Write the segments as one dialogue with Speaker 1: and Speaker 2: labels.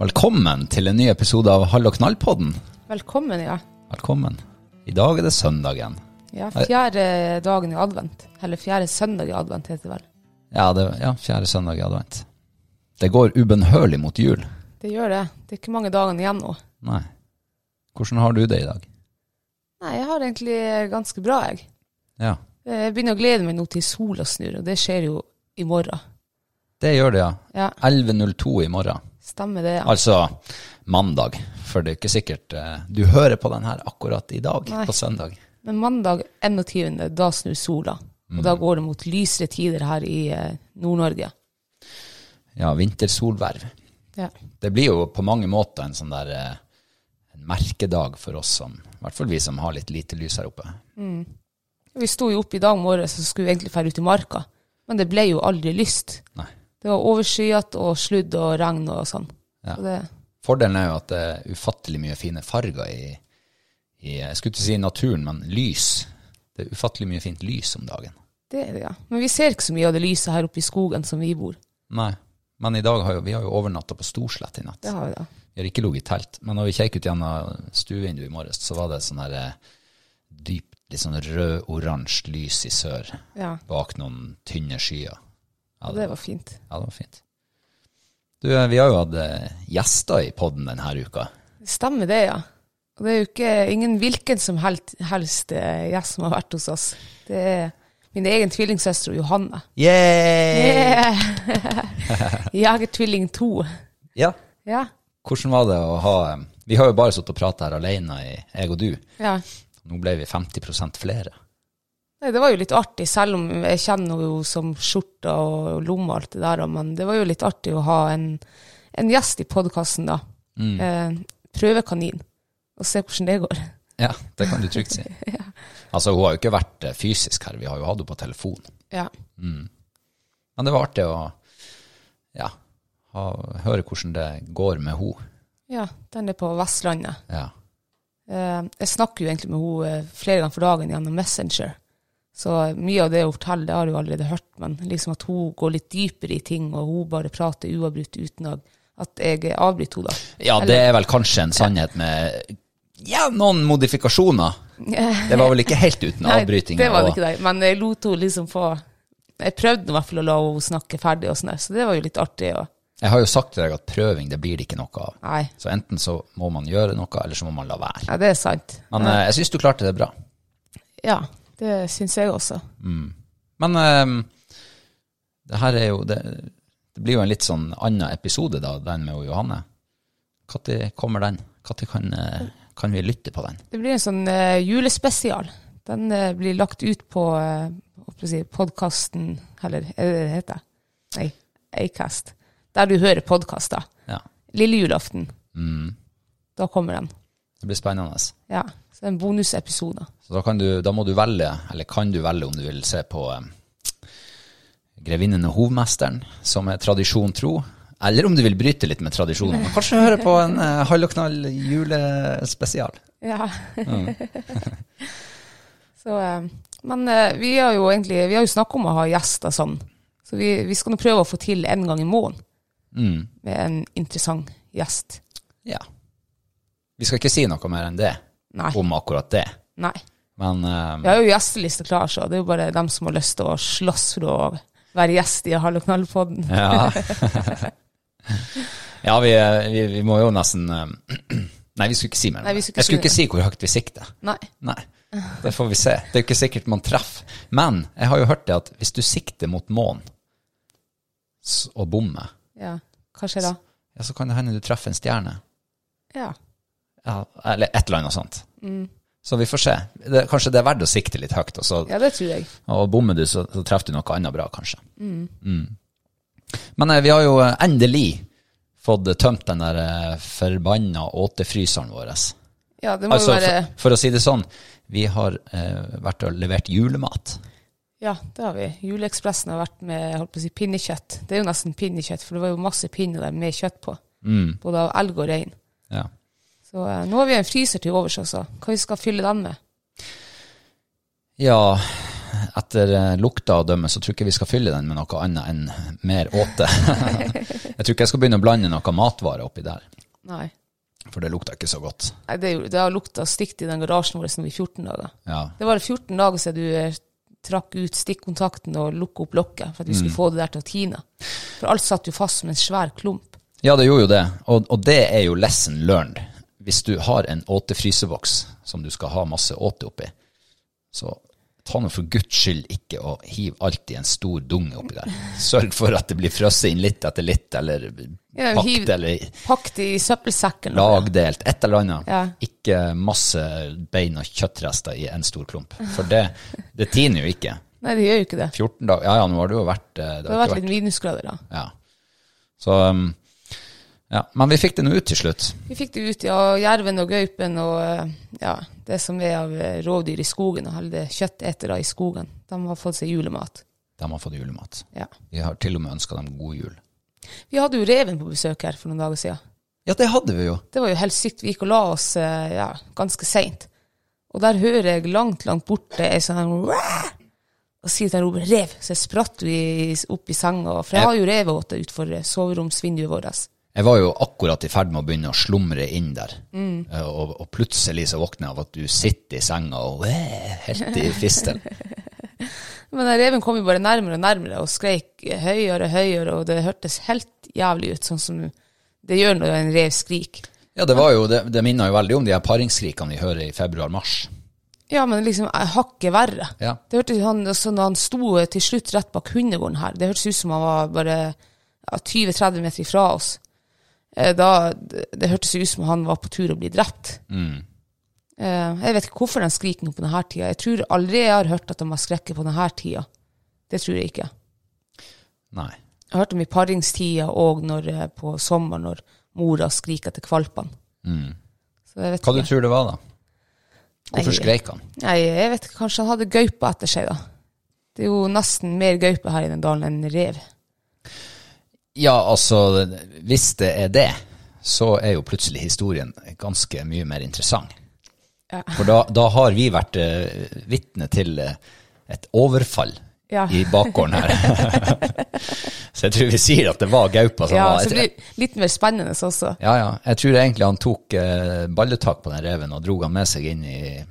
Speaker 1: Velkommen til en ny episode av Hall og knall-podden.
Speaker 2: Velkommen, ja.
Speaker 1: Velkommen. I dag er det søndagen.
Speaker 2: ja. Fjerde dagen i advent. Eller fjerde søndag i advent, heter det vel.
Speaker 1: Ja, det, ja fjerde søndag i advent. Det går ubønnhørlig mot jul.
Speaker 2: Det gjør det. Det er ikke mange dagene igjen nå.
Speaker 1: Nei. Hvordan har du det i dag?
Speaker 2: Nei, jeg har det egentlig ganske bra, jeg. Eh,
Speaker 1: Ja.
Speaker 2: Jeg begynner å glede meg nå til sola snur, og det skjer jo i morgen.
Speaker 1: Det gjør det, ja.
Speaker 2: Ja,
Speaker 1: 11.02 i morgen.
Speaker 2: stemmer det, ja.
Speaker 1: Altså mandag, for det er ikke sikkert eh, du hører på den her akkurat i dag,
Speaker 2: Nei.
Speaker 1: på søndag.
Speaker 2: Men mandag 21., da snur sola. Og da går det mot lysere tider her i eh, Nord-Norge.
Speaker 1: Ja, vintersolverv.
Speaker 2: Ja.
Speaker 1: Det blir jo på mange måter en sånn der eh, en merkedag for oss som, i hvert fall vi som har litt lite lys her oppe.
Speaker 2: Vi sto jo opp i dag morges og skulle egentlig dra ut i marka, men det ble jo aldri lyst.
Speaker 1: Nei.
Speaker 2: Det var overskyet og sludd og regn og sånn.
Speaker 1: Ja.
Speaker 2: Så det,
Speaker 1: Fordelen er jo at det er ufattelig mye fine farger i, i Jeg skulle ikke si naturen, men lys. Det er ufattelig mye fint lys om dagen.
Speaker 2: det er det, ja. Men vi ser ikke så mye av det lyset her oppe i skogen som vi bor.
Speaker 1: Nei. Men i dag har jo, vi har jo overnatta på Storslett i natt.
Speaker 2: Det har vi da.
Speaker 1: Vi har ikke ligget i telt. Men når vi kjekk ut gjennom stuevinduet i morges, så var det sånn her eh, dypt, litt sånn rød-oransje lys i sør
Speaker 2: Ja,
Speaker 1: bak noen tynne skyer. Ja,
Speaker 2: og det var fint.
Speaker 1: ja, det var fint. Du, eh, vi har jo hatt eh, gjester i podden denne uka.
Speaker 2: Det stemmer det, ja. Og det er jo ikke ingen hvilken som helst, helst eh, gjest som har vært hos oss. Det er min egen tvillingsøster Johanne.
Speaker 1: Yeah!
Speaker 2: Jegertvilling 2.
Speaker 1: Ja,
Speaker 2: Ja.
Speaker 1: Hvordan var det å ha Vi har jo bare sittet og pratet her alene, i- jeg og du.
Speaker 2: ja.
Speaker 1: Nå ble vi 50 flere.
Speaker 2: Nei, det var jo litt artig, selv om jeg kjenner henne jo som skjorta og lomme og alt det der, men det var jo litt artig å ha en, en gjest i podkasten, da. Eh, prøvekanin. Og se hvordan det går.
Speaker 1: Ja, det kan du trygt si. Altså, hun har jo ikke vært eh, fysisk her, vi har jo hatt henne på telefon.
Speaker 2: Ja.
Speaker 1: Men det var artig å ja, ha, høre hvordan det går med henne.
Speaker 2: ja. Den er på Vestlandet.
Speaker 1: Ja.
Speaker 2: Eh, jeg snakker jo egentlig med henne eh, flere ganger for dagen gjennom Messenger. Så eh, mye av det hun forteller, det har jeg jo allerede hørt, men liksom at hun går litt dypere i ting, og hun bare prater uavbrutt uten at at jeg avbryter henne, da.
Speaker 1: ja, det er vel kanskje en sannhet med ja, noen modifikasjoner. Det var vel ikke helt uten avbryting.
Speaker 2: Nei, det var
Speaker 1: og-
Speaker 2: det ikke, det. men jeg lot henne liksom få Jeg prøvde i hvert fall å la henne snakke ferdig, og sånn der, så det var jo litt artig. Og,
Speaker 1: Jeg har jo sagt til deg at prøving, det blir det ikke noe av.
Speaker 2: nei,
Speaker 1: Så enten så må man gjøre noe, eller så må man la være.
Speaker 2: ja, det er sant.
Speaker 1: Men eh, jeg syns du klarte det bra.
Speaker 2: Ja, det syns jeg også.
Speaker 1: Men eh, det her er jo det, det blir jo en litt sånn annen episode, da, den med jo Johanne. Når kommer den? Når kan, eh, kan vi lytte på den?
Speaker 2: Det blir en sånn eh, julespesial. Den eh, blir lagt ut på eh, hva skal jeg si, podkasten Eller er det det det heter? Nei, Acast. Der du hører podkaster.
Speaker 1: Ja.
Speaker 2: Lille julaften.
Speaker 1: Mm.
Speaker 2: Da kommer den.
Speaker 1: Det blir spennende.
Speaker 2: Ja. Så det er en bonusepisode.
Speaker 1: Så da, kan du, da må du velge, eller kan du velge om du vil se på eh, Grevinnen og hovmesteren, som er tradisjon tro, eller om du vil bryte litt med tradisjonen. og Kanskje høre på en eh, halv og knall julespesial.
Speaker 2: Ja. så, eh, men eh, vi har jo egentlig Vi har jo snakka om å ha gjester sånn. Så vi, vi skal nå prøve å få til en gang i måneden
Speaker 1: Mm.
Speaker 2: med en interessant gjest.
Speaker 1: Ja. Vi skal ikke si noe mer enn det
Speaker 2: Nei.
Speaker 1: om akkurat det,
Speaker 2: Nei.
Speaker 1: men eh,
Speaker 2: Vi har jo gjesteliste klar, så det er jo bare dem som har lyst til å slåss for å være gjest i Hall og knall-podden.
Speaker 1: Ja, ja vi, vi, vi må jo nesten eh, Nei, vi skulle ikke si mer. om
Speaker 2: Nei,
Speaker 1: det.
Speaker 2: vi skulle ikke
Speaker 1: Jeg skulle
Speaker 2: si
Speaker 1: ikke si hvor høyt vi sikter.
Speaker 2: Nei.
Speaker 1: Nei, det får vi se. Det er jo ikke sikkert man treffer. Men jeg har jo hørt det at hvis du sikter mot månen s- og bommer,
Speaker 2: Ja. Hva skjer da?
Speaker 1: ja, så kan det hende du treffer en stjerne.
Speaker 2: Ja.
Speaker 1: Ja, eller et eller annet sånt.
Speaker 2: Mm.
Speaker 1: Så vi får se. Det, kanskje det er verdt å sikte litt høyt, og, så,
Speaker 2: ja, det tror jeg.
Speaker 1: og bommer du, så, så treffer du noe annet bra, kanskje. Mm. Men eh, vi har jo eh, endelig fått tømt den der eh, forbanna åtefryseren vår.
Speaker 2: Ja, det må
Speaker 1: Altså,
Speaker 2: jo være
Speaker 1: for, for å si det sånn, vi har eh, vært og levert julemat.
Speaker 2: Ja, det har vi. Juleekspressen har vært med holdt på å si, pinnekjøtt. Det er jo nesten pinnekjøtt, for det var jo masse pinner der med kjøtt på.
Speaker 1: Mm.
Speaker 2: Både av elg og rein.
Speaker 1: Ja.
Speaker 2: Så eh, nå har vi en fryser til overs også. Hva vi skal fylle den med?
Speaker 1: Ja, etter eh, lukta å dømme, så tror jeg ikke vi skal fylle den med noe annet enn mer åte. jeg tror ikke jeg skal begynne å blande noe matvare oppi der,
Speaker 2: Nei.
Speaker 1: for det lukta ikke så godt.
Speaker 2: Nei, Det, er jo- det har lukta stygt i den garasjen vår siden vi er 14 dager.
Speaker 1: Ja,
Speaker 2: Det var 14 dager siden du eh, trakk ut stikkontakten og lukka opp lokket for at vi skulle få det der til å tine. For alt satt jo fast som en svær klump.
Speaker 1: ja det gjorde jo det, og, og det er jo lesson learned. Hvis du har en åtefryseboks som du skal ha masse åte oppi, så ta nå for guds skyld ikke og hiv alt i en stor dunge oppi der. Sørg for at det blir frosset inn litt etter litt, eller
Speaker 2: Ja, hiv-
Speaker 1: pakket, eller
Speaker 2: Pakk det i søppelsekken.
Speaker 1: lagdelt, et eller annet.
Speaker 2: Ja.
Speaker 1: Ikke masse bein og kjøttrester i en stor klump. For det, det tiner jo ikke.
Speaker 2: Nei, det gjør jo ikke det.
Speaker 1: 14 dager Ja ja, nå har det jo vært eh,
Speaker 2: Det har vært litt minusgrader da.
Speaker 1: Ja. Så um, ja. Men vi fikk det nå ut til slutt.
Speaker 2: Vi fikk det ut, ja. og Jerven og gaupen og eh, ja, det som er av eh, rovdyr i skogen, og alle kjøttetere i skogen, de har fått seg julemat.
Speaker 1: De har fått julemat.
Speaker 2: Ja.
Speaker 1: Vi har til og med ønska dem god jul.
Speaker 2: Vi hadde jo reven på besøk her for noen dager siden.
Speaker 1: Ja, det hadde vi jo.
Speaker 2: Det var jo helt sykt. Vi gikk og la oss eh, ja, ganske seint. Og der hører jeg langt, langt borte ei sånn her «Wah!» Og sier til Robert 'rev', så jeg spratt vi opp i senga. For jeg har jo revegåte utenfor eh, soveromsvinduet vårt.
Speaker 1: Jeg var jo akkurat i ferd med å begynne å slumre inn der, Eh, og, og plutselig så våkner jeg av at du sitter i senga og eh, helt i fistel.
Speaker 2: Men den reven kom jo bare nærmere og nærmere og skreik høyere og høyere, og det hørtes helt jævlig ut, sånn som det gjør når en rev skriker.
Speaker 1: Ja, det, var jo, det, det minner jo veldig om de her paringskrikene vi hører i februar-mars.
Speaker 2: Ja, men liksom eh, hakket verre.
Speaker 1: Ja.
Speaker 2: Det hørtes han, altså når han sto eh, til slutt rett bak hundegården her, det hørtes ut som han var bare ja, 20-30 meter ifra oss. Eh, Da, det, det hørtes ut som han var på tur å bli drept.
Speaker 1: Mm.
Speaker 2: Eh, Jeg vet ikke hvorfor de skriker nå på denne tida. Jeg tror aldri jeg har hørt at de har skrekket på denne tida. Det tror jeg ikke.
Speaker 1: Nei.
Speaker 2: Jeg hørte om i paringstida og når, eh, på sommeren når mora skriker etter kvalpene. Så jeg vet
Speaker 1: Mm. Hva du
Speaker 2: ikke.
Speaker 1: tror det var, da? Hvorfor
Speaker 2: Nei.
Speaker 1: skreik han?
Speaker 2: Nei, jeg vet ikke. Kanskje han hadde gaupe etter seg, da. Det er jo nesten mer gaupe her i den dalen enn rev.
Speaker 1: Ja, altså, hvis det er det, så er jo plutselig historien ganske mye mer interessant.
Speaker 2: Ja.
Speaker 1: For da, da har vi vært eh, vitne til eh, et overfall
Speaker 2: Ja.
Speaker 1: i bakgården her. så jeg tror vi sier at det var gaupa som
Speaker 2: Ja,
Speaker 1: var
Speaker 2: så det blir litt mer spennende også.
Speaker 1: Ja, ja. Jeg tror egentlig han tok eh, balletak på den reven og dro han med seg inn i,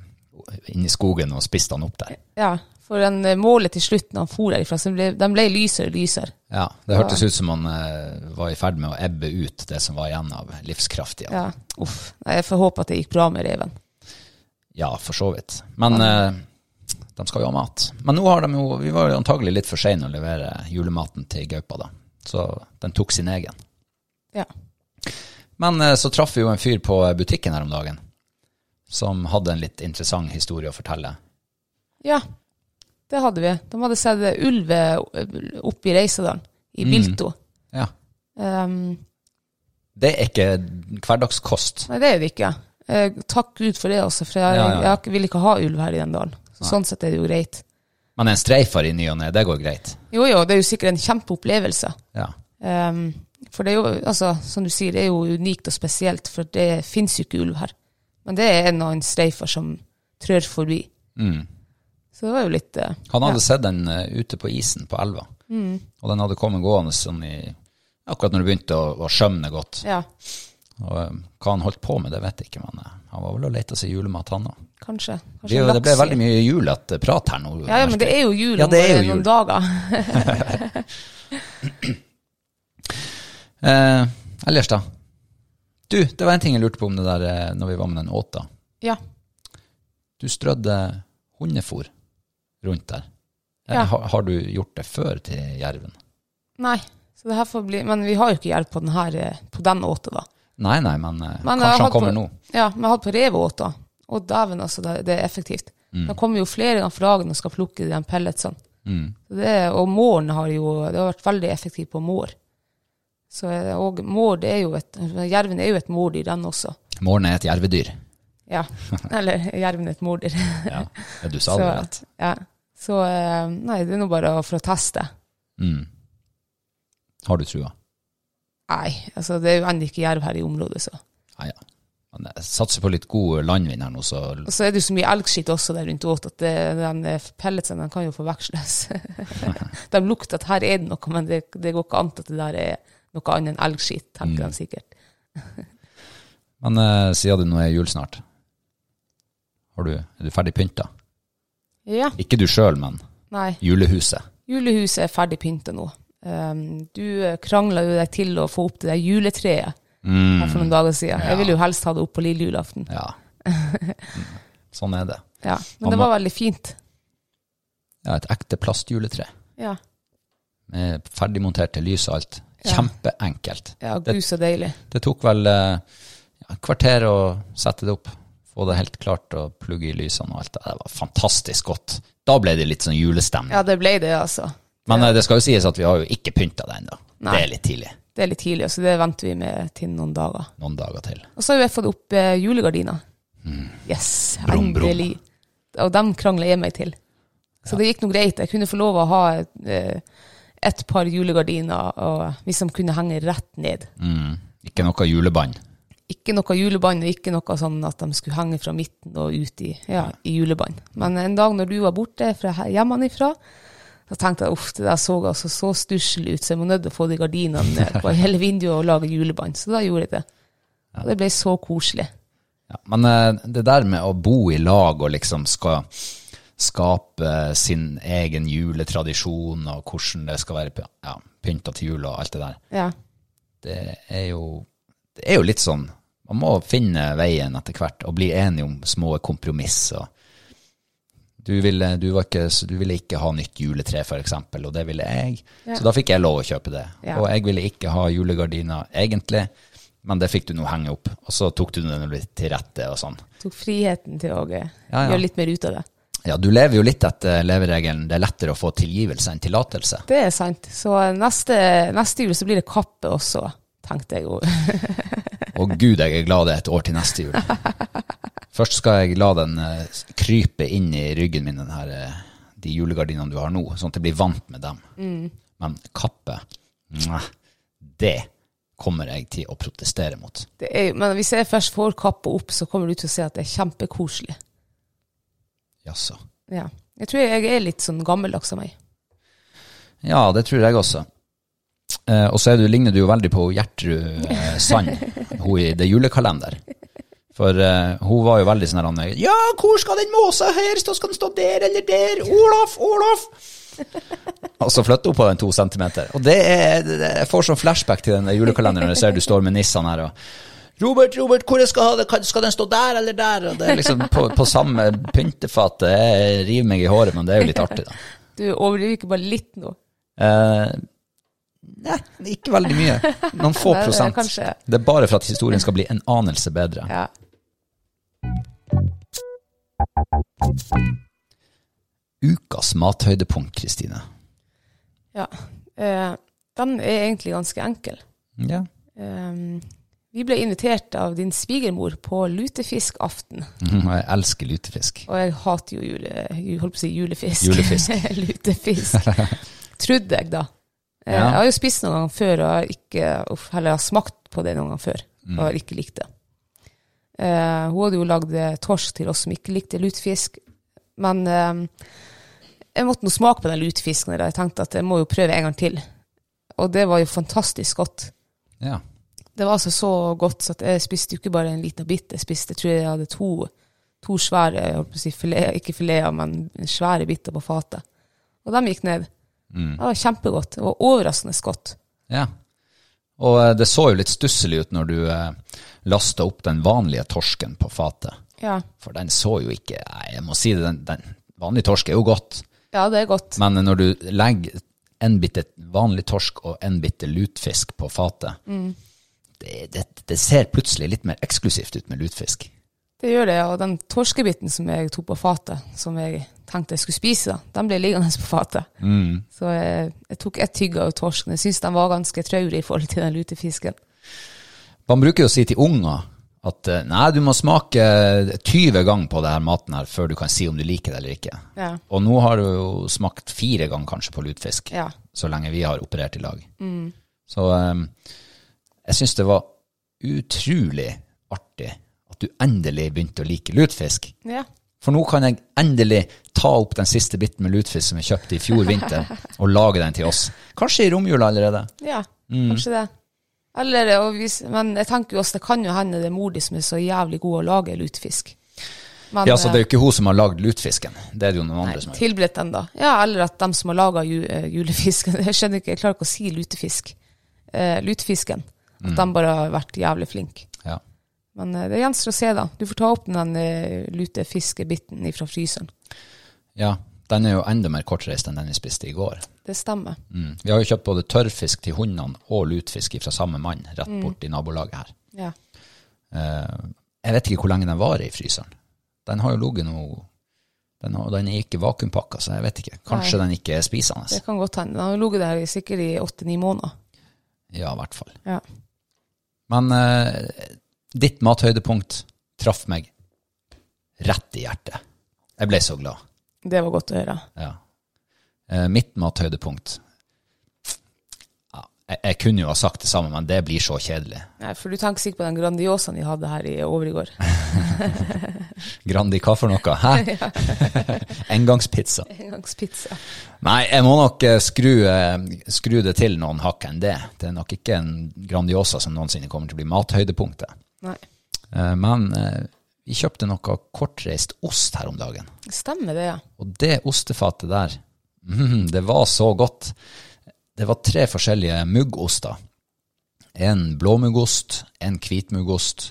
Speaker 1: inn i skogen og spiste han opp der.
Speaker 2: Ja, for den eh, målet til slutt når han for herifra, så ble, den ble lysere og lysere.
Speaker 1: Ja, det hørtes ut som han eh, var i ferd med å ebbe ut det som var igjen av livskraft i han. Ja.
Speaker 2: Ja, uff. Nei, jeg får håpe at det gikk bra med reven.
Speaker 1: for så vidt. Men eh, de skal jo ha mat. Men nå har de jo, vi var jo antagelig litt for sene å levere julematen til gaupa, da. Så den tok sin egen.
Speaker 2: Ja.
Speaker 1: Men eh, så traff vi jo en fyr på eh, butikken her om dagen som hadde en litt interessant historie å fortelle.
Speaker 2: Ja, det hadde vi. De hadde sett ulv eh, oppe i Reisadalen, i
Speaker 1: Mm.
Speaker 2: Bilto.
Speaker 1: Ja.
Speaker 2: Um,
Speaker 1: Det er ikke hverdagskost.
Speaker 2: nei, det er det ikke. Eh, takk Gud for det, altså, for
Speaker 1: Ja,
Speaker 2: jeg,
Speaker 1: ja, ja.
Speaker 2: jeg har ikke- vil ikke ha ulv her i den dalen. Så sånn sett er det jo greit.
Speaker 1: Men en streifar i ny og ne, det går greit.
Speaker 2: Jo, jo, det er jo sikkert en kjempeopplevelse.
Speaker 1: Ja.
Speaker 2: Um, for det er jo, altså, som du sier, det er jo unikt og spesielt, for det fins jo ikke ulv her. Men det er en og annen streifer som trør forbi. Så det var jo litt eh,
Speaker 1: Mm. Han hadde
Speaker 2: ja.
Speaker 1: sett den eh, ute på isen på elva, og den hadde kommet gående sånn i Akkurat når det begynte å, å skjømne godt.
Speaker 2: ja,
Speaker 1: Og, eh, hva han holdt på med, det vet jeg ikke, men eh, han var vel og leta seg julemat, han òg.
Speaker 2: kanskje. kanskje
Speaker 1: Det, er jo-
Speaker 2: en
Speaker 1: det ble
Speaker 2: laks i-
Speaker 1: veldig mye julete eh, prat her nå.
Speaker 2: Ja, ja, men det er jo jul
Speaker 1: Ja,
Speaker 2: om
Speaker 1: det er jo
Speaker 2: bare
Speaker 1: jul.
Speaker 2: noen dager.
Speaker 1: Eh, ellers, da? Du, det var en ting jeg lurte på om det der eh, når vi var med den åta.
Speaker 2: Ja.
Speaker 1: Du strødde hundefôr rundt der. Eh,
Speaker 2: Ja.
Speaker 1: Har, har du gjort det før til jerven?
Speaker 2: Nei. Så det her får bli Men vi har jo ikke hjelp på den her eh, på den åta, da.
Speaker 1: Nei, nei, men, eh,
Speaker 2: Men
Speaker 1: kanskje
Speaker 2: jeg har hatt
Speaker 1: han kommer
Speaker 2: på-
Speaker 1: nå.
Speaker 2: Ja, men jeg hadde på reveåta. Og dæven, altså, det, det er effektivt.
Speaker 1: Mm.
Speaker 2: De kommer jo flere ganger for dagen og skal plukke de pelletsene.
Speaker 1: Mm.
Speaker 2: Så Det, og måren har jo Det har vært veldig effektivt på mår. Så, eh, og mår, det er jo et Jerven er jo et mordyr, den også.
Speaker 1: Måren er et jervedyr.
Speaker 2: Ja. Eller jerven er et mordyr.
Speaker 1: Ja, ja, du sa det
Speaker 2: Så-
Speaker 1: rett.
Speaker 2: Ja. Så eh, nei, det er nå bare for å teste.
Speaker 1: Mm. Har du trua?
Speaker 2: Nei, altså det er jo ennå ikke jerv her i området, så.
Speaker 1: Ja, ja. Men jeg satser på litt god landvind her nå, så
Speaker 2: Og så er det jo så mye elgskitt også der rundt åt at det, den eh, pelletsen den kan jo forveksles. de lukter at her er det noe, men det, det går ikke an at det der er noe annet enn elgskitt, tenker de sikkert.
Speaker 1: Men eh, siden det nå er jul snart, har du, er du ferdig pynta?
Speaker 2: Ja,
Speaker 1: Ikke du sjøl, men
Speaker 2: nei.
Speaker 1: julehuset.
Speaker 2: Julehuset er ferdig pynta nå. Um, du eh, krangla jo deg til å få opp det der juletreet her for noen dager siden. Jeg ville jo helst ha det opp på lille julaften.
Speaker 1: Ja. Mm. Sånn er det.
Speaker 2: Ja.
Speaker 1: Han
Speaker 2: Men det
Speaker 1: var-
Speaker 2: var veldig fint.
Speaker 1: Ja, et ekte plastjuletre
Speaker 2: Ja,
Speaker 1: med ferdigmonterte lys og alt.
Speaker 2: Ja.
Speaker 1: Kjempeenkelt.
Speaker 2: ja
Speaker 1: Det-
Speaker 2: gud så deilig.
Speaker 1: Det tok vel eh, ja, et kvarter å sette det opp. Få det helt klart og plugge i lysene og alt. Det var fantastisk godt. Da ble det litt sånn julestemning.
Speaker 2: Ja, det ble det, altså.
Speaker 1: Men eh, det skal jo sies at vi har jo ikke pynta det ennå.
Speaker 2: Nei.
Speaker 1: Det er litt tidlig.
Speaker 2: Det er litt tidlig, så det venter vi med til noen dager.
Speaker 1: Noen dager til.
Speaker 2: Og så har jo jeg fått opp eh, julegardina. Yes,
Speaker 1: Mm. Brum, brum.
Speaker 2: endelig. Og dem krangla jeg meg til. Så det gikk nå greit. Jeg kunne få lov å ha eh, et par julegardiner, og hvis de kunne henge rett ned.
Speaker 1: Mm. Ikke noe julebånd.
Speaker 2: Ikke noe julebånd, og ikke noe sånn at de skulle henge fra midten og ut i, ja, i julebånd. Men en dag når du var borte fra he- hjemmefra, så tenkte jeg uff, det der så altså så stusslig ut, så jeg må nødt til å få de gardinene på hele vinduet og lage julebånd. Så da gjorde jeg det. Og det ble så koselig.
Speaker 1: Ja, men eh, det der med å bo i lag og liksom skal skape sin egen juletradisjon og hvordan det skal være py- ja, pynta til jul og alt det der,
Speaker 2: Ja.
Speaker 1: det er jo, det er jo litt sånn Man må finne veien etter hvert og bli enige om små kompromiss. og du ville, du, var ikke, så du ville ikke ha nytt juletre, for eksempel, og det ville jeg. Så da fikk jeg lov å kjøpe det.
Speaker 2: Ja.
Speaker 1: Og jeg ville ikke ha julegardiner egentlig, men det fikk du nå henge opp. Og så tok du den litt til rette og sånn.
Speaker 2: tok friheten til å eh,
Speaker 1: Ja, ja.
Speaker 2: gjøre litt mer ut av det.
Speaker 1: Ja, du lever jo litt etter leveregelen. Det er lettere å få tilgivelse enn tillatelse.
Speaker 2: Det er sant. Så neste, neste jul så blir det kappe også, tenkte jeg jo.
Speaker 1: Og gud, jeg er glad det er et år til neste jul. Først skal jeg la den eh, krype inn i ryggen min, den her, eh, de julegardinene du har nå, sånn at jeg blir vant med dem. Men kappe, mwah, det kommer jeg til å protestere mot.
Speaker 2: Det er, jo- men hvis jeg først får kappa opp, så kommer du til å se at det er kjempekoselig.
Speaker 1: Jaså.
Speaker 2: Ja. Jeg tror jeg er litt sånn gammeldags av meg.
Speaker 1: Ja, det tror jeg også. Eh, og så er du, ligner du jo veldig på Gjertrud eh, Sand, hun i det julekalender. For eh, hun var jo veldig sånn her Anne, Ja, hvor skal den måsa her? Stå- Skal den stå der eller der? Olaf, Olaf! Og så flytter hun på den to centimeter. Og det er, det, det- jeg får sånn flashback til den der julekalenderen når jeg ser du står med nissene her og Robert, Robert, hvor jeg skal ha det? Kan- Skal den stå der eller der? Og det er liksom på, på samme pyntefat. Jeg river meg i håret, men det er jo litt artig, da.
Speaker 2: Du overdriver ikke bare litt nå.
Speaker 1: Eh, Nei, ikke veldig mye. Noen få
Speaker 2: Nei, det er
Speaker 1: prosent.
Speaker 2: kanskje-
Speaker 1: Det er bare for at historien skal bli en anelse bedre.
Speaker 2: Ja.
Speaker 1: Ukas mathøydepunkt, Kristine.
Speaker 2: ja. Eh, den er egentlig ganske enkel.
Speaker 1: Ja.
Speaker 2: Eh, vi ble invitert av din svigermor på lutefiskaften.
Speaker 1: Mhm, og Jeg elsker lutefisk.
Speaker 2: Og jeg hater jo jule, ju- holdt på å si julefisk.
Speaker 1: Julefisk.
Speaker 2: Lutefisk. Trodde jeg, da. Eh,
Speaker 1: Ja.
Speaker 2: Jeg har jo spist noen ganger før, og har ikke, uff, eller jeg har smakt på det noen ganger før,
Speaker 1: Mm.
Speaker 2: og har ikke likt det. Eh, hun hadde jo lagd eh, torsk til oss som ikke likte lutefisk, men eh, jeg måtte nå smake på den lutefisken, og jeg tenkte at jeg må jo prøve en gang til. Og det var jo fantastisk godt.
Speaker 1: Ja.
Speaker 2: Det var altså så godt, så at jeg spiste jo ikke bare en liten bit. Jeg spiste, jeg tror jeg hadde to, to svære jeg holdt på å si filet, ikke fileter, men svære biter på fatet. Og de gikk ned. Det var kjempegodt. Det var overraskende godt.
Speaker 1: ja. Og eh, det så jo litt stusselig ut når du eh, lasta opp den vanlige torsken på fatet.
Speaker 2: Ja.
Speaker 1: For den så jo ikke Nei, jeg må si det, den, den vanlige torsk er jo godt.
Speaker 2: ja, det er godt.
Speaker 1: Men når du legger en bitte vanlig torsk og en bitte lutfisk på fatet,
Speaker 2: Mm.
Speaker 1: det, det, det ser plutselig litt mer eksklusivt ut med lutfisk.
Speaker 2: Det gjør det, og den torskebiten som jeg tok på fatet, som jeg tenkte jeg skulle spise, da, den ble liggende på fatet. Så jeg, jeg tok et tygg av torsken. Jeg syns den var ganske traurig i forhold til den lutefisken.
Speaker 1: Man bruker jo å si til unger at eh, nei, du må smake 20 ganger på denne maten her før du kan si om du liker det eller ikke.
Speaker 2: Ja.
Speaker 1: Og nå har du jo smakt fire ganger kanskje på lutfisk,
Speaker 2: Ja. Mm.
Speaker 1: så lenge vi har operert i lag. Så eh, jeg syns det var utrolig artig at du endelig begynte å like lutfisk.
Speaker 2: Ja.
Speaker 1: For nå kan jeg endelig ta opp den siste biten med lutfisk som jeg kjøpte i fjor vinter, og lage den til oss. Kanskje i romjula allerede.
Speaker 2: Ja,
Speaker 1: Mm.
Speaker 2: kanskje det. Eller, og hvis, men jeg tenker jo også, det kan jo hende det er mor di som er så jævlig god å lage lutefisk. Men, eh,
Speaker 1: Ja, så det er jo ikke hun som har lagd lutfisken. Det er det jo noen andre som har gjort.
Speaker 2: Tilberedt den, da. Ja, eller at dem som har laga ju, eh, julefisken Jeg skjønner ikke, jeg klarer ikke å si lutefisk. Eh, lutefisken.
Speaker 1: Mm.
Speaker 2: At de bare har vært jævlig flinke.
Speaker 1: Ja.
Speaker 2: Men eh, det gjenstår å se, da. Du får ta opp den eh, lutefiskebiten fra fryseren.
Speaker 1: ja. Den er jo enda mer kortreist enn den vi spiste i går.
Speaker 2: Det stemmer.
Speaker 1: Mm. Vi har jo kjøpt både tørrfisk til hundene og lutfisk fra samme mann rett bort i nabolaget her.
Speaker 2: Ja.
Speaker 1: Eh, jeg vet ikke hvor lenge den varer i fryseren. Den har jo ligget nå den, har- den er ikke vakuumpakka, så jeg vet ikke. Kanskje den ikke er spisende.
Speaker 2: Det kan godt hende. Den har jo ligget der i sikkert i åtte-ni måneder.
Speaker 1: Ja, i hvert fall.
Speaker 2: Ja.
Speaker 1: Men eh, ditt mathøydepunkt traff meg rett i hjertet. Jeg ble så glad.
Speaker 2: Det var godt å høre.
Speaker 1: Ja. Eh, mitt mathøydepunkt ja, jeg, jeg kunne jo ha sagt det samme, men det blir så kjedelig.
Speaker 2: Nei, for du tenker sikkert på den Grandiosaen vi hadde her i overgård.
Speaker 1: Grandi, hva for noe? Hæ? Engangspizza.
Speaker 2: Engangspizza.
Speaker 1: Nei, jeg må nok eh, skru, eh, skru det til noen hakk enn det. Det er nok ikke en Grandiosa som noensinne kommer til å bli mathøydepunktet.
Speaker 2: Nei,
Speaker 1: Eh, men eh, vi kjøpte noe kortreist ost her om dagen.
Speaker 2: stemmer det, ja.
Speaker 1: Og det ostefatet der, mm, det var så godt. Det var tre forskjellige muggoster. En blåmuggost, en hvitmuggost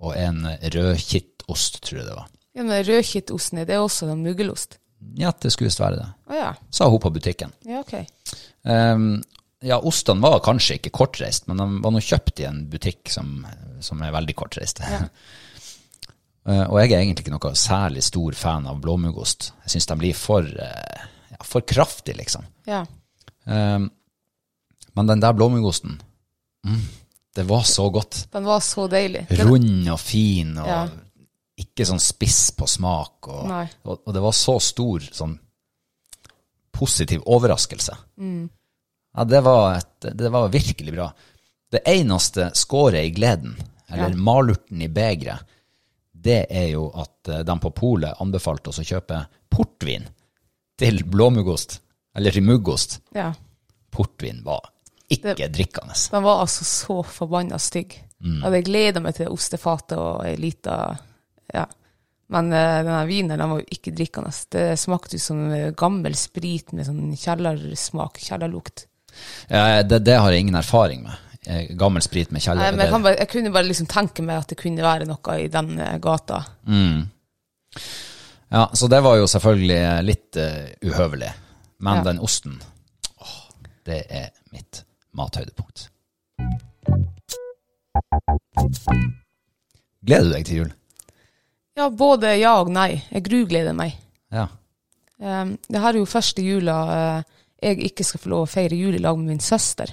Speaker 1: og en rødkittost, tror jeg det var.
Speaker 2: ja men rødkittosten, det er også en muggelost.
Speaker 1: Ja, det skulle visst være det,
Speaker 2: Å ja.
Speaker 1: sa hun på butikken.
Speaker 2: Ja, ok.
Speaker 1: Ehm, ja, ostene var kanskje ikke kortreist, men de var nå kjøpt i en butikk som, som er veldig kortreist. Eh, og jeg er egentlig ikke noe særlig stor fan av blåmuggost. Jeg syns de blir for, eh, ja, for kraftig, liksom.
Speaker 2: Ja.
Speaker 1: Ehm, men den der blåmuggosten, mm, det var så godt.
Speaker 2: Den var så deilig. Den,
Speaker 1: Rund og fin, og
Speaker 2: Ja.
Speaker 1: ikke sånn spiss på smak. Og,
Speaker 2: Nei.
Speaker 1: og, og det var så stor sånn positiv overraskelse.
Speaker 2: Mm.
Speaker 1: Ja, det, var et, det var virkelig bra. Det eneste skåret i gleden, eller
Speaker 2: Ja.
Speaker 1: malurten i begeret, det er jo at eh, de på polet anbefalte oss å kjøpe portvin til blåmuggost, eller til muggost
Speaker 2: ja.
Speaker 1: portvin var ikke drikkende.
Speaker 2: den var altså så forbanna stygg. Jeg Hadde gleda meg til ostefatet og ei lita Ja. Men eh, denne vinen den var jo ikke drikkende. Det smakte jo som eh, gammel sprit med sånn kjellersmak, kjellerlukt.
Speaker 1: Eh, Det, det har jeg ingen erfaring med. Eh, Gammel sprit med
Speaker 2: Nei,
Speaker 1: kjeller.
Speaker 2: men jeg, kan bare, jeg kunne bare liksom tenke meg at det kunne være noe i den eh, gata.
Speaker 1: ja, så det var jo selvfølgelig litt eh, uhøvelig. Men
Speaker 2: Ja.
Speaker 1: den osten, åh, det er mitt mathøydepunkt. Gleder du deg til jul?
Speaker 2: Ja, både ja og nei. Jeg grugleder meg.
Speaker 1: Ja.
Speaker 2: Um, det her er jo første jula eh, jeg ikke skal få lov å feire jul i lag med min søster.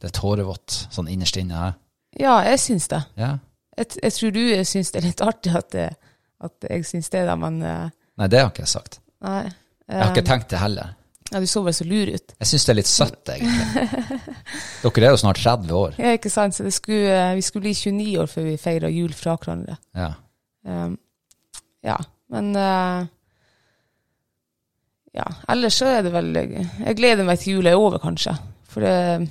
Speaker 1: Det er tårevått sånn innerst inne her.
Speaker 2: Ja, jeg syns det.
Speaker 1: Ja.
Speaker 2: Jeg, t- jeg tror du eh, syns det er litt artig at, det, at jeg syns det, da, men eh,
Speaker 1: Nei, det har ikke jeg sagt.
Speaker 2: nei.
Speaker 1: Jeg har
Speaker 2: Um,
Speaker 1: ikke tenkt det heller.
Speaker 2: ja, du så vel så lur ut.
Speaker 1: Jeg syns det er litt søtt, egentlig. Dere er jo snart 30 år.
Speaker 2: Ja, ikke sant? Så det skulle, eh, vi skulle bli 29 år før vi feira jul fra hverandre.
Speaker 1: Ja.
Speaker 2: Um, ja, men eh, Ja, ellers så er det vel Jeg gleder meg til jula er over, kanskje. For det,